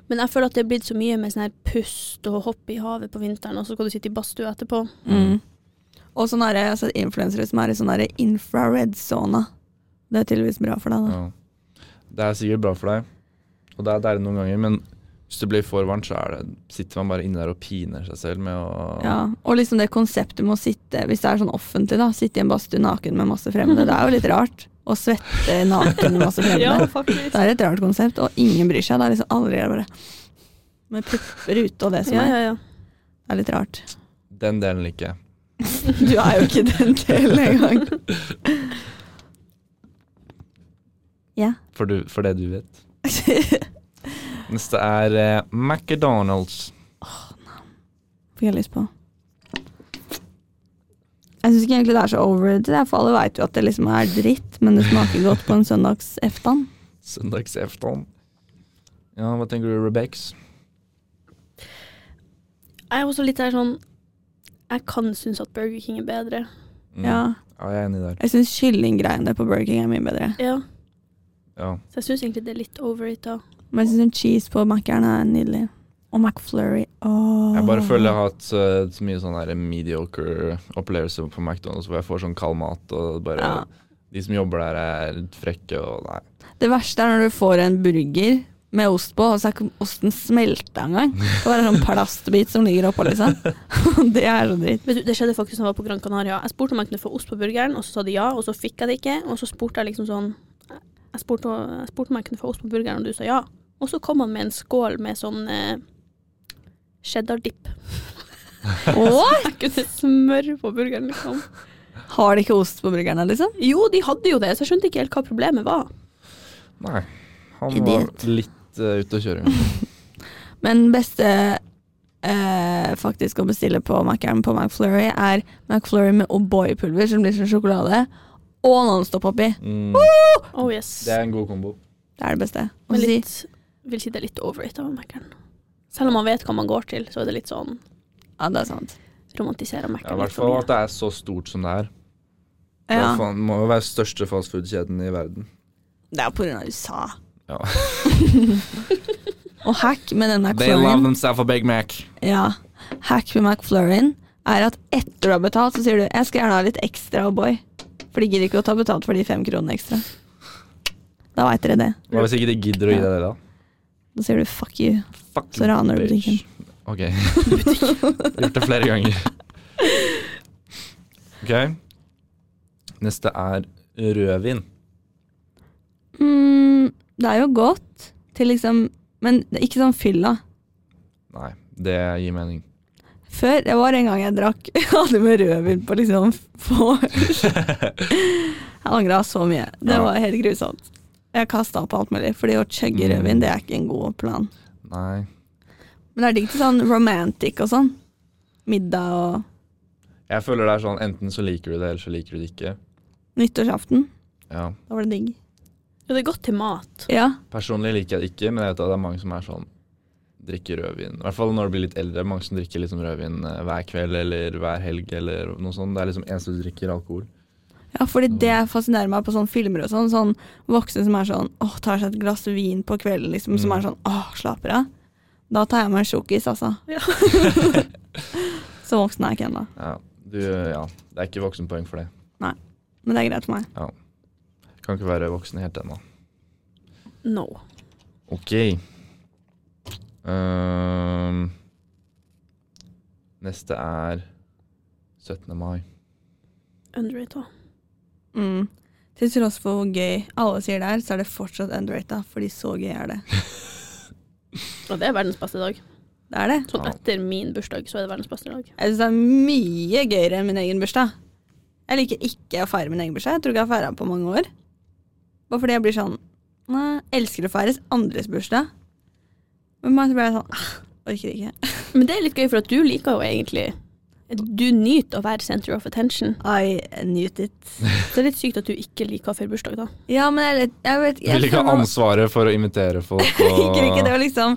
Speaker 3: Men jeg føler at det er blitt så mye med sånn her pust og hopp i havet på vinteren, og så skal du sitte i badstue etterpå.
Speaker 2: Mm. Og sånn er det, altså influensere som er i sånn her infrared-sona. Det er tydeligvis bra for deg, da.
Speaker 4: Ja. Det er sikkert bra for deg, og det er deilig noen ganger, men hvis det blir for varmt, så er det, sitter man bare inne der og piner seg selv med å
Speaker 2: Ja. Og liksom det konseptet med å sitte, hvis det er sånn offentlig, da, sitte i en badstue naken med masse fremmede. Det er jo litt rart å svette naken med masse fremmede.
Speaker 3: faktisk.
Speaker 2: Det er et rart konsept, og ingen bryr seg. Det er liksom alle gjør bare med pupper ute og det som
Speaker 3: Ja,
Speaker 2: er.
Speaker 3: ja, ja.
Speaker 2: Det er litt rart.
Speaker 4: Den delen liker jeg.
Speaker 2: Du er jo ikke den til engang. Ja.
Speaker 4: For, du, for det du vet. Neste er eh, McDonald's.
Speaker 2: Fikk jeg lyst på. Jeg syns ikke egentlig det er så overrated, jeg, for alle veit jo at det liksom er dritt, men det smaker godt på en søndags eftan.
Speaker 4: Søndagsaften. Ja, hva tenker du, Rebex?
Speaker 3: Jeg er også litt der sånn Jeg kan synes at Burger King er bedre.
Speaker 4: Mm.
Speaker 2: Ja.
Speaker 4: ja, jeg er enig der.
Speaker 2: Jeg syns kyllinggreiene på Burger King er mye bedre.
Speaker 3: Ja,
Speaker 4: Ja.
Speaker 3: Så jeg syns egentlig det er litt overrated.
Speaker 2: Men jeg syns cheese på Mac-eren er nydelig. Og McFlurry. Åh.
Speaker 4: Jeg bare føler jeg har hatt eh, så mye sånn her mediocre opplevelser på McDonald's hvor jeg får sånn kald mat og bare
Speaker 2: Ja.
Speaker 4: De som jobber der, er frekke og nei.
Speaker 2: Det verste er når du får en burger med ost på, og så er ikke osten smelta engang. Det var en sånn plastbit som ligger oppå, liksom. det er så dritt.
Speaker 3: Vet du, det skjedde faktisk da jeg var på Gran Canaria. Jeg spurte om jeg kunne få ost på burgeren, og så sa de ja, og så fikk jeg det ikke. Og så spurte jeg liksom sånn Jeg spurte, jeg spurte om jeg kunne få ost på burgeren, og du sa ja. Og så kom han med en skål med sånn eh, cheddar dip.
Speaker 2: What?
Speaker 3: Jeg kunne smøre på burgeren, liksom.
Speaker 2: Har de ikke ost på burgerne, liksom?
Speaker 3: Jo, de hadde jo det, så jeg skjønte ikke helt hva problemet var.
Speaker 4: Nei. Han
Speaker 2: Idiot.
Speaker 4: var litt eh, ute å kjøre.
Speaker 2: Men beste eh, faktisk å bestille på Mac-eren på McFlurry er McFlurry med O'boy-pulver, som blir som sjokolade, og Nonstop oppi.
Speaker 4: Mm.
Speaker 3: Oh yes.
Speaker 4: Det er en god kombo.
Speaker 2: Det er det beste. Og
Speaker 3: Men
Speaker 2: så si
Speaker 3: litt, vil si det er litt overrated av Mac-eren. Selv om man vet hva man går til, så er det litt sånn
Speaker 2: Ja, det er sant.
Speaker 3: romantiserer
Speaker 4: Ja, I
Speaker 3: Mac-eren
Speaker 4: hvert
Speaker 3: litt for
Speaker 4: fall
Speaker 3: mye.
Speaker 4: at det er så stort som det er. Det er
Speaker 2: Ja.
Speaker 4: faen- må jo være største fastfood-kjeden i verden.
Speaker 2: Det er på grunn av USA.
Speaker 4: Ja.
Speaker 2: og hack med den McFlurryen
Speaker 4: themselves a Big Mac.
Speaker 2: Ja. Hack med McFlurryen er at etter du har betalt, så sier du 'jeg skal gjerne ha litt ekstra O'boy'. For de gidder ikke å ta betalt for de fem kronene ekstra. Da veit dere det.
Speaker 4: Hva hvis ikke de gidder å gi deg det, da?
Speaker 2: Da sier du 'fuck you'.
Speaker 4: Fuck
Speaker 2: Så raner du
Speaker 4: bitch. Ok. Gjort det flere ganger. Ok. Neste er rødvin.
Speaker 2: Mm, det er jo godt til liksom Men det er ikke sånn fylla.
Speaker 4: Nei, det gir mening.
Speaker 2: Før, det var en gang jeg drakk jeg hadde med rødvin på liksom få Jeg angra så mye. Det
Speaker 4: Ja.
Speaker 2: var helt grusomt. Jeg kasta opp alt mulig, fordi å chugge
Speaker 4: Mm.
Speaker 2: rødvin, det er ikke en god plan.
Speaker 4: Nei.
Speaker 2: Men det er digg til sånn romantic og sånn. Middag og
Speaker 4: Jeg føler det er sånn enten så liker du det, eller så liker du det ikke.
Speaker 2: nyttårsaften.
Speaker 4: Ja.
Speaker 2: Da var det digg.
Speaker 3: Jo, det er godt til mat.
Speaker 2: Ja,
Speaker 4: Personlig liker jeg det ikke, men jeg vet at det er mange som er sånn drikker rødvin. I hvert fall når du blir litt eldre. Mange som drikker liksom rødvin eh, hver kveld eller hver helg eller noe sånt. Det er liksom eneste du drikker alkohol.
Speaker 2: ja fordi det fascinerer meg på sånne filmer og sånn. Sånn voksne som er sånn åh, tar seg et glass vin på kvelden, liksom. Som
Speaker 4: Mm.
Speaker 2: er sånn åh, slapper av. Da tar jeg meg en sjokis, altså.
Speaker 3: Ja.
Speaker 2: så voksen er jeg ikke ennå.
Speaker 4: Ja. Du, ja. Det er ikke voksenpoeng for det.
Speaker 2: Men det er greit for meg.
Speaker 4: Kan ikke være voksen helt ennå.
Speaker 3: No.
Speaker 4: Ok. Ehm, neste er 17. mai.
Speaker 3: Underrated.
Speaker 2: Mm. Til tross for hvor gøy alle sier det er, så er det fortsatt underrated, fordi så gøy er det.
Speaker 3: Og det er verdens beste dag.
Speaker 2: Det er det.
Speaker 3: Sånn
Speaker 4: Ja.
Speaker 3: etter min bursdag, så er det verdens beste dag.
Speaker 2: Jeg syns det er mye gøyere enn min egen bursdag. Jeg liker ikke å feire min egen bursdag. Jeg tror ikke jeg har feira den på mange år. Bare fordi jeg blir sånn Nei, elsker å feires andres bursdag. Men meg så blir jeg sånn ah, Orker ikke.
Speaker 3: Men det er litt gøy, for at du liker jo egentlig Du nyter å være center of attention.
Speaker 2: I knew it.
Speaker 3: Så det er litt sykt at du ikke liker å feire bursdag, da.
Speaker 2: Ja, men jeg, vet- jeg vet
Speaker 4: Jeg vil ikke ha
Speaker 2: skjønner-
Speaker 4: ansvaret for å invitere folk.
Speaker 2: Jeg liker ikke det å liksom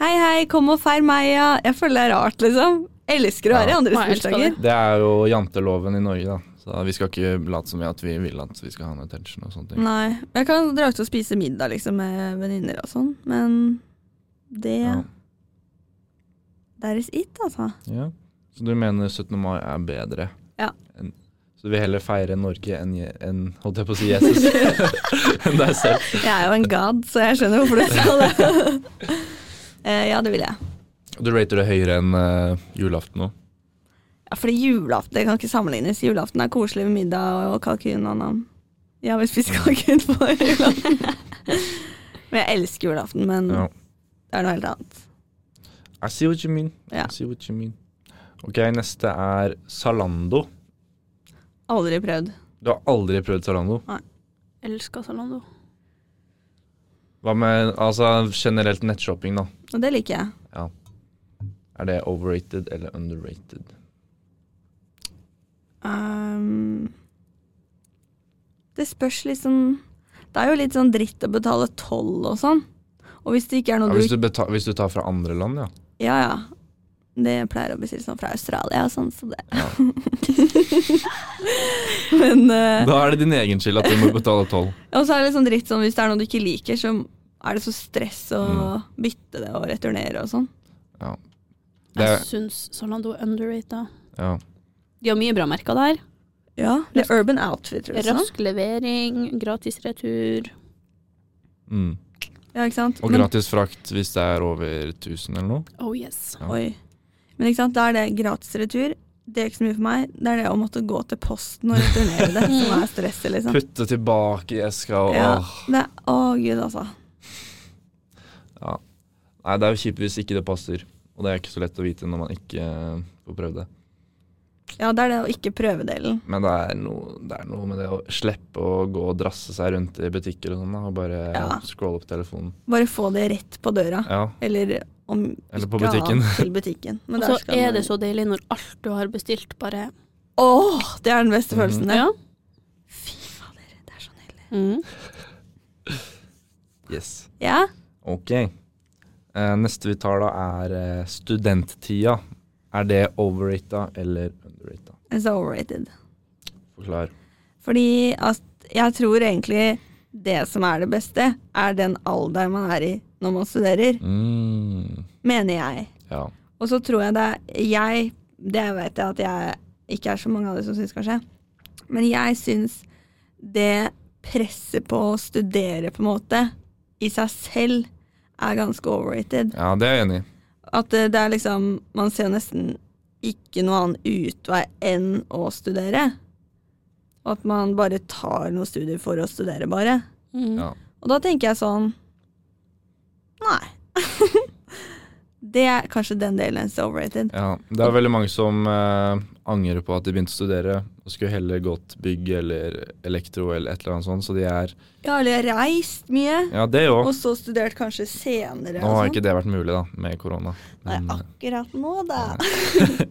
Speaker 2: Hei, hei, kom og feir meg, ja. Jeg føler det er rart, liksom. Elsker å være i
Speaker 4: Ja.
Speaker 2: andres
Speaker 3: Nei, jeg elsker
Speaker 2: bursdager.
Speaker 3: det.
Speaker 4: Det er jo janteloven i Norge, da. Så vi skal ikke late som vi at vi vil at vi skal ha en attention og sånne ting.
Speaker 2: Nei. Jeg kan dra ut og spise middag liksom med venninner og sånn, men det
Speaker 4: Ja.
Speaker 2: That is it, altså.
Speaker 4: Ja. Så du mener 17. mai er bedre?
Speaker 2: Ja.
Speaker 4: Enn- så du vil heller feire Norge enn Je- enn- holdt jeg på å si Jesus? enn deg selv?
Speaker 2: Jeg er jo en god, så jeg skjønner hvorfor du sa det. Eh, ja, det vil jeg.
Speaker 4: Du rater det høyere enn eh, julaften nå?
Speaker 2: Ja, fordi julaften det kan ikke sammenlignes. Julaften er koselig med middag og kalkun og nam. Jeg har vel spist kalkun på julaften. men jeg elsker julaften, men
Speaker 4: Ja.
Speaker 2: det er noe helt annet.
Speaker 4: I see what you mean.
Speaker 2: Ja.
Speaker 4: I see what you mean. Ok, neste er Zalando.
Speaker 2: Aldri prøvd.
Speaker 4: Du har aldri prøvd Zalando.
Speaker 3: Elsker Zalando.
Speaker 4: Hva med altså, generelt nettshopping, da?
Speaker 2: Og det liker jeg.
Speaker 4: Er det overrated eller underrated?
Speaker 2: Ehm, det spørs liksom Det er jo litt sånn dritt å betale toll og sånn. Og hvis det ikke er
Speaker 4: Ja,
Speaker 2: noe
Speaker 4: hvis,
Speaker 2: du
Speaker 4: du beta hvis du tar fra andre land, ja.
Speaker 2: Ja, ja. Det pleier å bestille sånn fra Australia og sånn, så det Men eh,
Speaker 4: Da er det din egen skyld at du må betale toll.
Speaker 2: Og så er det litt sånn dritt sånn hvis det er noe du ikke liker, så er det så stress å
Speaker 4: Mm.
Speaker 2: bytte det og returnere og sånn.
Speaker 4: Det
Speaker 3: Jeg
Speaker 4: er-
Speaker 3: syns Zalando er underrated.
Speaker 4: Ja.
Speaker 3: De har mye bra merker der.
Speaker 2: Ja, det er Urban Outfit, tror jeg. sånn.
Speaker 3: Rask levering, gratis retur.
Speaker 4: Mm.
Speaker 2: Ja, ikke sant?
Speaker 4: Og
Speaker 2: Men-
Speaker 4: gratis frakt hvis det er over 1000 eller noe.
Speaker 3: Oh yes.
Speaker 4: Ja.
Speaker 2: Oi. Men ikke sant, da er det gratis retur. Det er ikke så mye for meg. Det er det å måtte gå til posten og returnere det som er stresset, liksom.
Speaker 4: Putte tilbake i eska og
Speaker 2: Ja.
Speaker 4: Åh.
Speaker 2: Det, å gud, altså.
Speaker 4: Nei, det er jo kjipt hvis ikke det passer. Og det er ikke så lett å vite når man ikke eh, får prøvd det.
Speaker 2: Ja, det er det å ikke prøve delen.
Speaker 4: Men det er, noe, det er noe med det å slippe å gå og drasse seg rundt i butikker og sånn, da, og bare
Speaker 2: Ja.
Speaker 4: scrolle opp telefonen.
Speaker 2: Bare få det rett på døra.
Speaker 4: Ja.
Speaker 2: Eller om
Speaker 4: Eller på
Speaker 2: ikke annet,
Speaker 4: butikken.
Speaker 2: Til butikken. Men
Speaker 3: Og
Speaker 2: der
Speaker 3: så
Speaker 2: skal
Speaker 3: er
Speaker 2: man-
Speaker 3: det så deilig når alt du har bestilt, bare
Speaker 2: Åh, det er den beste
Speaker 4: Mhm.
Speaker 2: følelsen der.
Speaker 3: Ja.
Speaker 2: Fy fader, det er så nydelig.
Speaker 3: Mm.
Speaker 4: Yes.
Speaker 2: Ja,
Speaker 4: Ok. Eh, neste vi tar da er eh, studenttida. Er det overrata eller underrata?
Speaker 2: it's overrated.
Speaker 4: Forklar.
Speaker 2: Fordi at jeg tror egentlig det som er det beste, er den alderen man er i når man studerer,
Speaker 4: Mm,
Speaker 2: mener jeg.
Speaker 4: ja.
Speaker 2: Og så tror jeg det er jeg Det vet jeg at jeg ikke er så mange av dere som syns, kanskje. Men jeg syns det presset på å studere, på en måte, i seg selv er ganske overrated.
Speaker 4: ja, det er jeg enig i.
Speaker 2: At det, det er liksom Man ser nesten ikke noen annen utvei enn å studere. Og at man bare tar noen studier for å studere, bare.
Speaker 3: Mm.
Speaker 4: Ja.
Speaker 2: Og da tenker jeg sånn Nei. det er kanskje den delen som er overrated.
Speaker 4: Ja, det er veldig mange som eh, angrer på at de begynte å studere og skulle heller gått bygg eller elektro eller et eller annet sånt, så de er
Speaker 2: Ja, eller jeg har reist mye,
Speaker 4: Ja, det
Speaker 2: og
Speaker 4: òg.
Speaker 2: så studert kanskje senere. sånn.
Speaker 4: Nå har ikke det vært mulig, da, med korona.
Speaker 2: Nei,
Speaker 4: Men, eh,
Speaker 2: akkurat nå, da.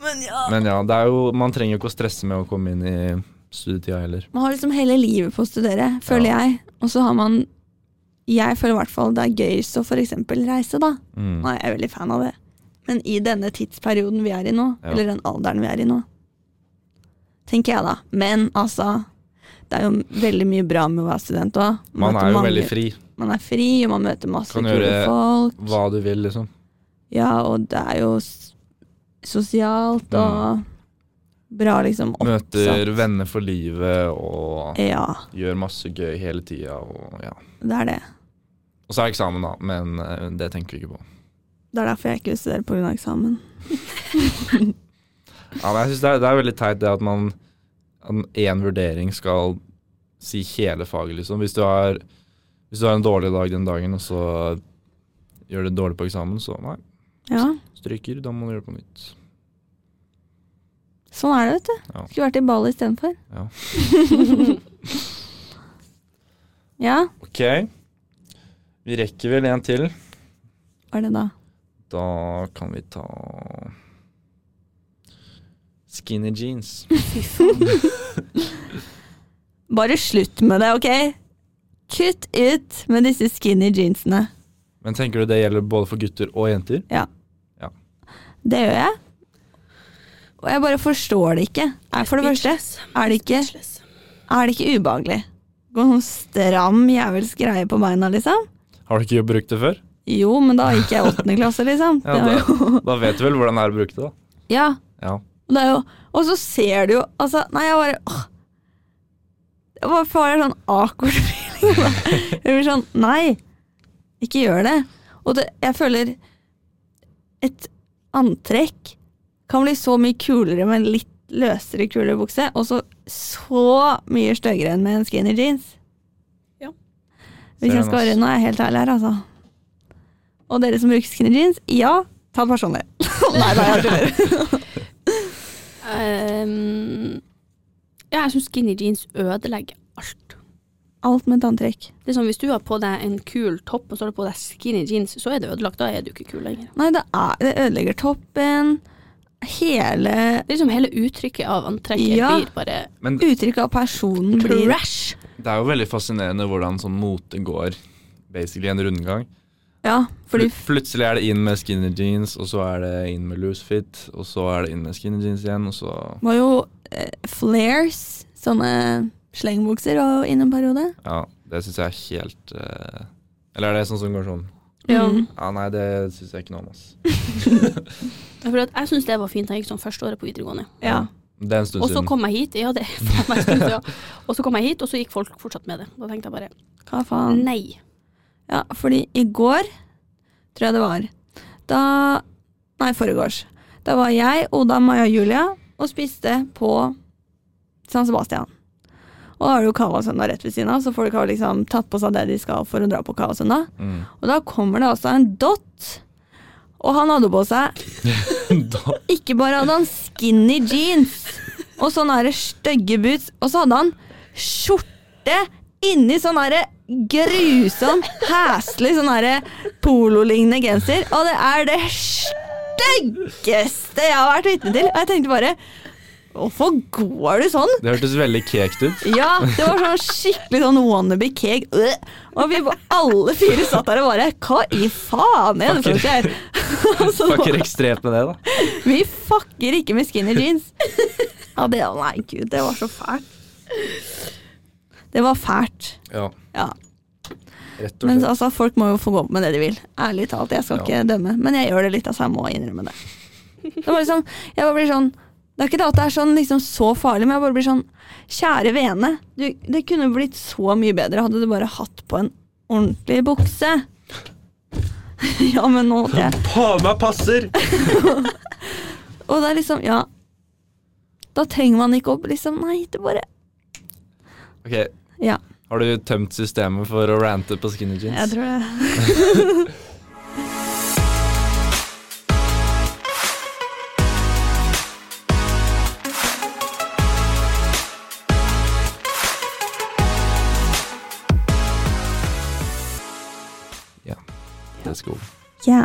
Speaker 2: Men ja.
Speaker 4: men ja, det er jo Man trenger jo ikke å stresse med å komme inn i studietida heller.
Speaker 2: Man har liksom hele livet på å studere, føler jeg. Og så har man Jeg føler i hvert fall det er gøyest å for eksempel reise, da.
Speaker 4: Mm.
Speaker 2: Nei, jeg er veldig fan av det. Men i denne tidsperioden vi er i nå,
Speaker 4: Ja.
Speaker 2: eller den alderen vi er i nå, tenker jeg da. Men altså, det er jo veldig mye bra med å være student òg.
Speaker 4: Man er jo veldig fri.
Speaker 2: Man er fri, og man møter masse
Speaker 4: Kan
Speaker 2: kule
Speaker 4: gjøre
Speaker 2: folk.
Speaker 4: Hva du vil, liksom.
Speaker 2: Ja, og det er jo s- sosialt og
Speaker 4: Mm.
Speaker 2: bra, liksom. oppsatt.
Speaker 4: Møter venner for livet og
Speaker 2: Ja,
Speaker 4: gjør masse gøy hele tida. Og, ja.
Speaker 2: det er det.
Speaker 4: og så er eksamen, da, men eh, det tenker vi ikke på.
Speaker 2: Det er derfor jeg ikke vil studere pga. eksamen.
Speaker 4: Ja, men jeg synes det, er, det er veldig teit det at man at én vurdering skal si hele faget, liksom. Hvis du, har, hvis du har en dårlig dag den dagen, og så gjør du det dårlig på eksamen, så nei,
Speaker 2: Ja,
Speaker 4: stryker. Da må du gjøre det på nytt.
Speaker 2: sånn er det, vet du.
Speaker 4: Ja.
Speaker 2: Skulle vært i Bali istedenfor.
Speaker 4: Ja.
Speaker 2: ja,
Speaker 4: Ok, vi rekker vel en til.
Speaker 2: hva er det da?
Speaker 4: Da kan vi ta Skinny jeans.
Speaker 2: Bare slutt med det, ok? Kutt ut med disse skinny jeansene.
Speaker 4: Men tenker du det gjelder både for gutter og jenter?
Speaker 2: Det gjør jeg. Og jeg bare forstår det ikke. Er for det første, er det ikke,
Speaker 3: Speechless.
Speaker 2: er det ikke ubehagelig? Gå noen stram jævelsk greie på beina, liksom.
Speaker 4: Har du ikke brukt det før?
Speaker 2: Jo, men da gikk jeg i åttende klasse, liksom.
Speaker 4: Ja,
Speaker 2: Det var jo,
Speaker 4: Da vet du vel hvordan det er å bruke det, da.
Speaker 2: ja,
Speaker 4: Ja.
Speaker 2: og det er jo, og så ser du jo, altså, nei, jeg bare, åh. Det var bare sånn awkward feeling. da. Jeg blir sånn, nei, ikke gjør det. Og det, jeg føler et antrekk kan bli så mye kulere med en litt løsere kulere bukse, og så så mye støggere enn med en skinny jeans.
Speaker 3: Ja.
Speaker 2: Hvis
Speaker 4: Ser
Speaker 2: jeg
Speaker 4: den,
Speaker 2: skal
Speaker 4: ass.
Speaker 2: være, nå er jeg helt ærlig her, altså. Og dere som bruker skinny jeans, ja, ta det personlig. nei, nei, jeg tuller.
Speaker 3: Ehm, ja, jeg syns skinny jeans ødelegger alt.
Speaker 2: Alt med et antrekk.
Speaker 3: Det er sånn, Hvis du har på deg en kul topp, og så har du på deg skinny jeans, så er det ødelagt. Da er du ikke kul lenger.
Speaker 2: Nei, det, er, det ødelegger toppen. Hele
Speaker 3: Det er liksom Hele uttrykket av antrekket
Speaker 2: Ja.
Speaker 3: blir bare
Speaker 4: Men
Speaker 2: uttrykket av personen blir
Speaker 3: trash.
Speaker 4: det er jo veldig fascinerende hvordan sånn mote går basically en rundgang.
Speaker 2: Ja, fordi
Speaker 4: Plut- Plutselig er det inn med skinny jeans, og så er det inn med loose fit, og så er det inn med skinny jeans igjen, og så
Speaker 2: var jo eh, flares, sånne slengbukser, og innen en periode.
Speaker 4: Ja, det syns jeg er helt eh, Eller er det sånn som går sånn
Speaker 3: Ja.
Speaker 2: Mm.
Speaker 4: Ja, nei, det syns jeg ikke noe om, ass.
Speaker 3: For at jeg syns det var fint da jeg gikk sånn første året på videregående.
Speaker 2: Ja.
Speaker 4: Det er en stund
Speaker 3: Og så
Speaker 4: siden.
Speaker 3: kom jeg hit, ja det er faen meg stund siden. Og så kom jeg hit, og så gikk folk fortsatt med det. Da tenkte jeg bare
Speaker 2: Hva faen?
Speaker 3: nei.
Speaker 2: Ja, fordi i går, tror jeg det var, da Nei, foregårs. Da var jeg, Oda, Maja og Julia og spiste på San Sebastian. Og da har du jo Cavasøndag rett ved siden av, så folk har liksom tatt på seg det de skal for å dra på Cavasøndag.
Speaker 4: Mm.
Speaker 2: Og da kommer det altså en dott. Og han hadde på seg
Speaker 4: Da-
Speaker 2: Ikke bare hadde han skinny jeans og sånne her stygge boots, og så hadde han skjorte inni sånn her grusom, hæslig sånn her pololignende genser. Og det er det styggeste jeg har vært vitne til. Og jeg tenkte bare Hvorfor går du sånn?
Speaker 4: Det hørtes veldig caked ut.
Speaker 2: Ja, det var sånn skikkelig sånn wannabe cake. Øh. Og vi bare- alle fire satt der og bare Hva i faen er det som skjer? Så det var-
Speaker 4: Fucker ekstremt med det, da.
Speaker 2: vi fucker ikke med skinny jeans. Ja, det, nei, gud, det var så fælt. Det var fælt.
Speaker 4: Ja,
Speaker 2: Ja.
Speaker 4: rett og
Speaker 2: Men
Speaker 4: slett.
Speaker 2: altså, folk må jo få gå opp med det de vil. Ærlig talt, jeg skal
Speaker 4: Ja.
Speaker 2: ikke dømme. Men jeg gjør det litt, altså. Jeg må innrømme det. Det var liksom, jeg bare blir sånn Det er ikke det at det er sånn, liksom, så farlig, men jeg bare blir sånn Kjære vene, du, det kunne blitt så mye bedre hadde du bare hatt på en ordentlig bukse. ja, men nå måtte jeg
Speaker 4: Faen meg passer!
Speaker 2: Og det er liksom, ja Da trenger man ikke å liksom Nei, det bare
Speaker 4: Ok,
Speaker 2: Ja.
Speaker 4: har du tømt systemet for å rante på skinny jeans?
Speaker 2: Jeg tror det.
Speaker 4: Det er sko.
Speaker 2: Ja,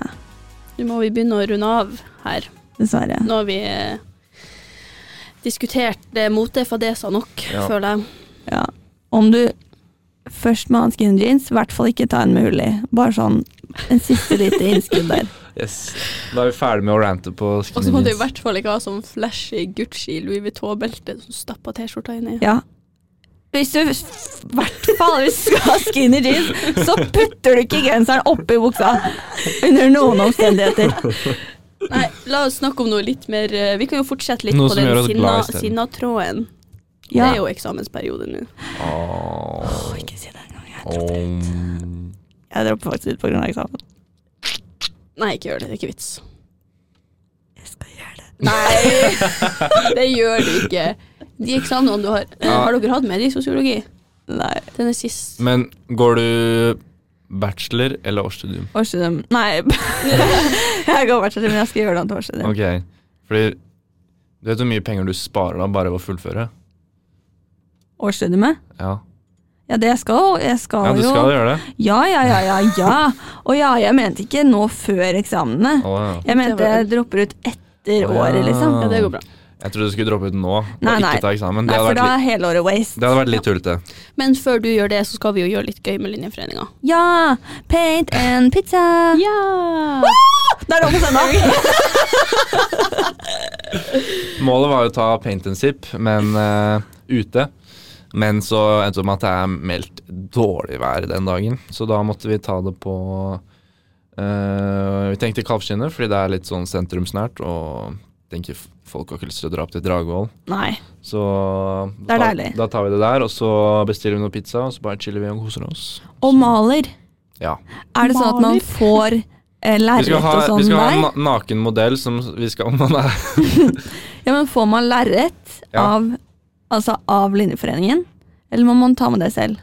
Speaker 3: Nå må vi begynne å runde av her.
Speaker 2: dessverre.
Speaker 3: Nå har vi eh, diskutert det motefadeser nok,
Speaker 4: Ja.
Speaker 3: føler jeg.
Speaker 2: Ja. Om du først må ha en skinny jeans, i hvert fall ikke ta en med hull i. Bare sånn en siste lite innskudd der.
Speaker 4: Yes. Da er vi ferdig med å rante på
Speaker 3: Og så må
Speaker 4: skinny
Speaker 3: du i
Speaker 4: jeans.
Speaker 3: hvert fall ikke ha sånn flashy Gucci Louis Vuitton-belte som stapper T-skjorta inn i.
Speaker 2: Ja. Hvis du i hvert fall hvis du skal ha skinny jeans, så putter du ikke genseren oppi buksa under noen omstendigheter.
Speaker 3: Nei, la oss snakke om noe litt mer eh, Vi kan jo fortsette litt
Speaker 4: Noe
Speaker 3: på
Speaker 4: som
Speaker 3: den
Speaker 4: gjør oss
Speaker 3: sinna,
Speaker 4: glad i stedet.
Speaker 3: sinna-tråden. Det
Speaker 2: Ja.
Speaker 3: er jo eksamensperiode nå.
Speaker 4: Åh,
Speaker 2: Ikke si det engang. Jeg dropper-
Speaker 4: åh.
Speaker 2: Jeg dropper faktisk ut pga. eksamen.
Speaker 3: Nei, ikke gjør det. Det er ikke vits.
Speaker 2: Jeg skal gjøre det.
Speaker 3: Nei, det gjør du ikke. De eksamenene du har eh,
Speaker 4: Ja.
Speaker 3: Har dere hatt med i sosiologi?
Speaker 2: Nei.
Speaker 3: Den er sist.
Speaker 4: Men går du bachelor eller årsstudium?
Speaker 2: Årsstudium Nei, jeg går bachelor, men jeg skal gjøre det om til årsstudium.
Speaker 4: Ok, fordi du vet hvor mye penger du sparer da bare ved å fullføre?
Speaker 2: Årsstudiumet?
Speaker 4: Ja,
Speaker 2: Ja, det skal jo- jeg skal
Speaker 4: ja du
Speaker 2: jo.
Speaker 4: skal gjøre det?
Speaker 2: Ja, ja, ja, ja, ja. Og ja, jeg mente ikke nå før eksamene.
Speaker 4: Åh, ja.
Speaker 2: Jeg mente jeg dropper ut etter
Speaker 4: Å, ja.
Speaker 2: året, liksom.
Speaker 3: Ja, det går bra.
Speaker 4: Jeg trodde du skulle droppe ut nå og
Speaker 2: Nei, nei.
Speaker 4: ikke ta eksamen. Det
Speaker 2: Nei,
Speaker 4: hadde
Speaker 2: for
Speaker 4: vært
Speaker 2: da er
Speaker 4: litt,
Speaker 2: hele året waste.
Speaker 4: det hadde vært litt tullete.
Speaker 3: Men før du gjør det, så skal vi jo gjøre litt gøy med Linjeforeninga.
Speaker 2: Ja! Paint and pizza.
Speaker 3: Ja!
Speaker 2: Det er det om å sende.
Speaker 4: Målet var jo å ta paint and sip, men eh, ute. Men så endte det med at det er meldt dårlig vær den dagen, så da måtte vi ta det på eh, Vi tenkte Kalvskinnet, fordi det er litt sånn sentrumsnært, og tenker f- folk har ikke lyst til å dra opp til Dragvoll.
Speaker 2: Nei.
Speaker 4: Så
Speaker 2: Det er
Speaker 4: da,
Speaker 2: deilig.
Speaker 4: da tar vi det der, og så bestiller vi noe pizza, og så bare chiller vi og koser oss.
Speaker 2: Og maler.
Speaker 4: Ja.
Speaker 2: Er det sånn at man
Speaker 3: Maler?
Speaker 2: får eh,
Speaker 4: Vi skal
Speaker 2: lerret
Speaker 4: ha,
Speaker 2: og
Speaker 4: vi
Speaker 2: sånn
Speaker 4: skal ha
Speaker 2: der?
Speaker 4: en na naken modell som vi skal Om man er
Speaker 2: Ja, men får man lerret
Speaker 4: Ja.
Speaker 2: av, altså av Linjeforeningen? Eller må man ta med det selv?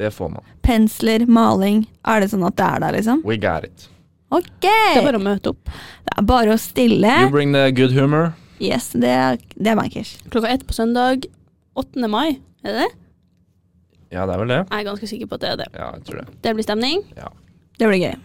Speaker 4: Det får man.
Speaker 2: Pensler, maling. Er det sånn at det er der, liksom?
Speaker 4: We got it.
Speaker 2: Ok!
Speaker 3: Det er bare å møte opp.
Speaker 2: Det er bare å stille.
Speaker 4: You bring the good humor.
Speaker 2: Yes, det er, det er bankers.
Speaker 3: Klokka ett på søndag 8. mai. Er det det?
Speaker 4: Ja, det er vel det.
Speaker 3: Jeg er ganske sikker på at det er det.
Speaker 4: Ja, jeg tror det.
Speaker 3: Det blir stemning.
Speaker 2: Det blir gøy.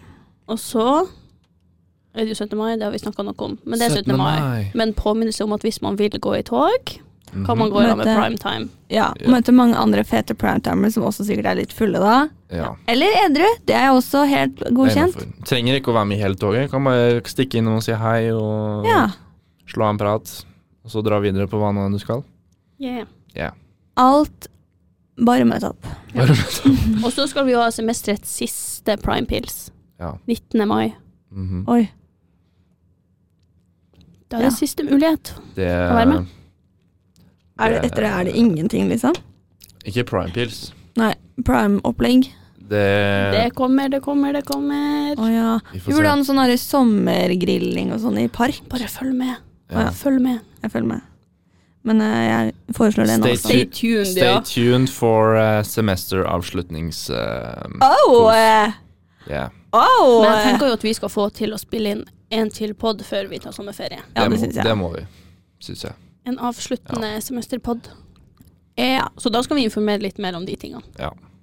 Speaker 3: Og så er det jo 17. mai, det har vi snakka noe om. Men det er 17. mai. Men påminnelse om at hvis man vil gå i tog, kan
Speaker 4: Mhm.
Speaker 3: man gå i lag med
Speaker 2: Møte.
Speaker 3: prime time.
Speaker 2: Ja,
Speaker 4: Ja.
Speaker 2: Møte mange andre fete primetimers som også sikkert er litt fulle da.
Speaker 4: Ja,
Speaker 2: Eller edru. Det er også helt
Speaker 4: det er
Speaker 2: godkjent.
Speaker 4: innenfor. Trenger ikke å være med i hele toget. Kan bare stikke innom og si hei og
Speaker 2: Ja.
Speaker 4: slå av en prat. Og så dra videre på hva nå enn du skal.
Speaker 3: Yeah.
Speaker 2: Alt bare møt opp.
Speaker 4: Bare møte opp.
Speaker 3: Og så skal vi jo ha semesterets siste prime pills.
Speaker 4: Ja.
Speaker 3: 19. mai.
Speaker 4: Mhm.
Speaker 2: Oi.
Speaker 3: Da er det
Speaker 2: Ja.
Speaker 3: siste mulighet.
Speaker 4: Det
Speaker 3: Kan være med.
Speaker 2: Er det, etter det er det ingenting, liksom?
Speaker 4: Ikke prime pills.
Speaker 2: Nei, prime-opplegg.
Speaker 4: Det,
Speaker 3: Det kommer, det kommer, det kommer.
Speaker 2: Å ja.
Speaker 4: Vi får
Speaker 2: Vi burde
Speaker 4: se.
Speaker 2: ha noe sånn her sommergrilling og sånn i park.
Speaker 3: Bare følg med.
Speaker 4: Ja.
Speaker 3: Følg med.
Speaker 2: Jeg følger med. Men eh, jeg foreslår det nå.
Speaker 4: Stay
Speaker 2: også.
Speaker 4: tuned.
Speaker 3: tuned,
Speaker 4: Stay tuned for uh, semesteravslutnings... eh,
Speaker 2: Au! eh,
Speaker 4: yeah.
Speaker 2: au,
Speaker 3: Men jeg
Speaker 2: eh.
Speaker 3: tenker jo at vi skal få til å spille inn en til pod før vi tar sommerferie.
Speaker 2: Ja,
Speaker 4: må,
Speaker 2: det syns jeg.
Speaker 4: det må vi, syns jeg.
Speaker 3: En avsluttende semesterpod. Ja, så da skal vi informere litt mer om de tingene.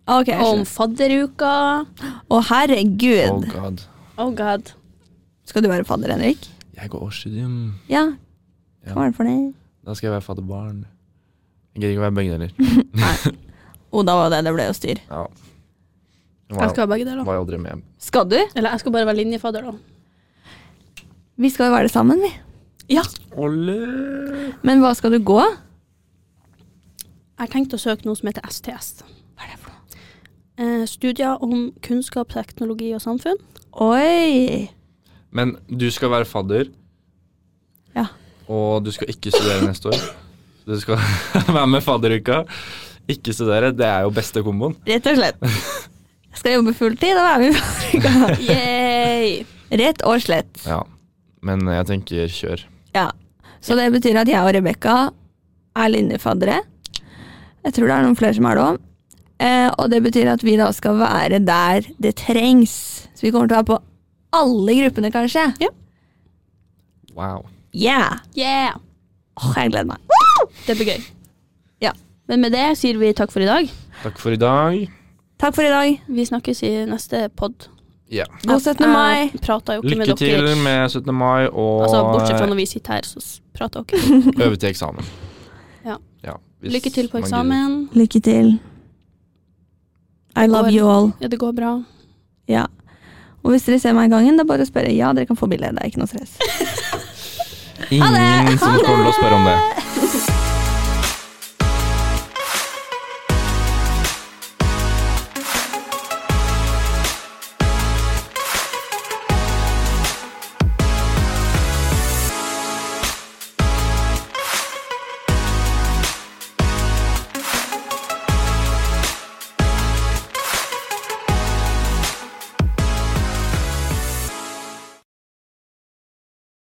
Speaker 2: Ok, jeg skjønner.
Speaker 3: Om fadderuka.
Speaker 2: Å,
Speaker 4: Oh
Speaker 2: herregud.
Speaker 4: god.
Speaker 3: Oh god.
Speaker 2: Skal du være fadder, Henrik?
Speaker 4: Jeg går årsstudium.
Speaker 2: Ja.
Speaker 4: Ja.
Speaker 2: Hva var det for noe?
Speaker 4: Da skal jeg være fadderbarn. Jeg gidder ikke å være begge deler.
Speaker 2: Å, da var det det ble jo styr.
Speaker 4: Ja. Jeg
Speaker 3: Jeg
Speaker 4: var,
Speaker 3: skal ha begge deler.
Speaker 4: var aldri med.
Speaker 2: Skal du?
Speaker 3: Eller jeg skal bare være linjefadder, da.
Speaker 2: Vi skal jo være sammen, vi.
Speaker 3: Ja.
Speaker 4: Olle!
Speaker 2: Men hva skal du gå?
Speaker 3: Jeg tenkte å søke noe som heter STS. Hva er det for noe? Eh, studier om kunnskap, teknologi og samfunn.
Speaker 2: Oi!
Speaker 4: Men du skal være fadder.
Speaker 2: Ja.
Speaker 4: Og du skal ikke studere neste år. Du skal være med fadderuka. Ikke studere, det er jo beste komboen.
Speaker 2: Rett og slett. Jeg skal jobbe fulltid og være med i fabrikka.
Speaker 3: Yay!
Speaker 2: Rett og slett.
Speaker 4: Ja. Men jeg tenker kjør.
Speaker 2: Ja. Så det betyr at jeg og Rebekka er linjefaddere. Jeg tror det er noen flere som er det òg. Eh, og det betyr at vi da skal være der det trengs. Så vi kommer til å være på alle gruppene, kanskje.
Speaker 3: Ja.
Speaker 4: Wow.
Speaker 2: Yeah!
Speaker 3: Yeah!
Speaker 2: Åh, jeg gleder meg.
Speaker 3: Det blir gøy.
Speaker 2: Ja.
Speaker 3: Men med det sier vi takk for i dag.
Speaker 4: Takk for i dag.
Speaker 2: Takk for i dag.
Speaker 3: Vi snakkes i neste pod.
Speaker 4: Ja.
Speaker 2: God 17. mai.
Speaker 3: Jeg prater jo ikke
Speaker 4: Lykke
Speaker 3: med
Speaker 4: til
Speaker 3: dere.
Speaker 4: med 17. mai og
Speaker 3: Altså, bortsett fra når vi sitter her, så s- prater dere.
Speaker 4: øve til eksamen.
Speaker 3: Ja.
Speaker 4: hvis
Speaker 3: Lykke til på
Speaker 4: man
Speaker 3: eksamen.
Speaker 2: Lykke til. I love you all.
Speaker 3: Ja, det går bra.
Speaker 2: Ja. Og hvis dere ser meg i gangen, det er bare å spørre. Ja, dere kan få bilde. Det er ikke noe stress.
Speaker 4: gidder. Ingen som kommer til å spørre om det.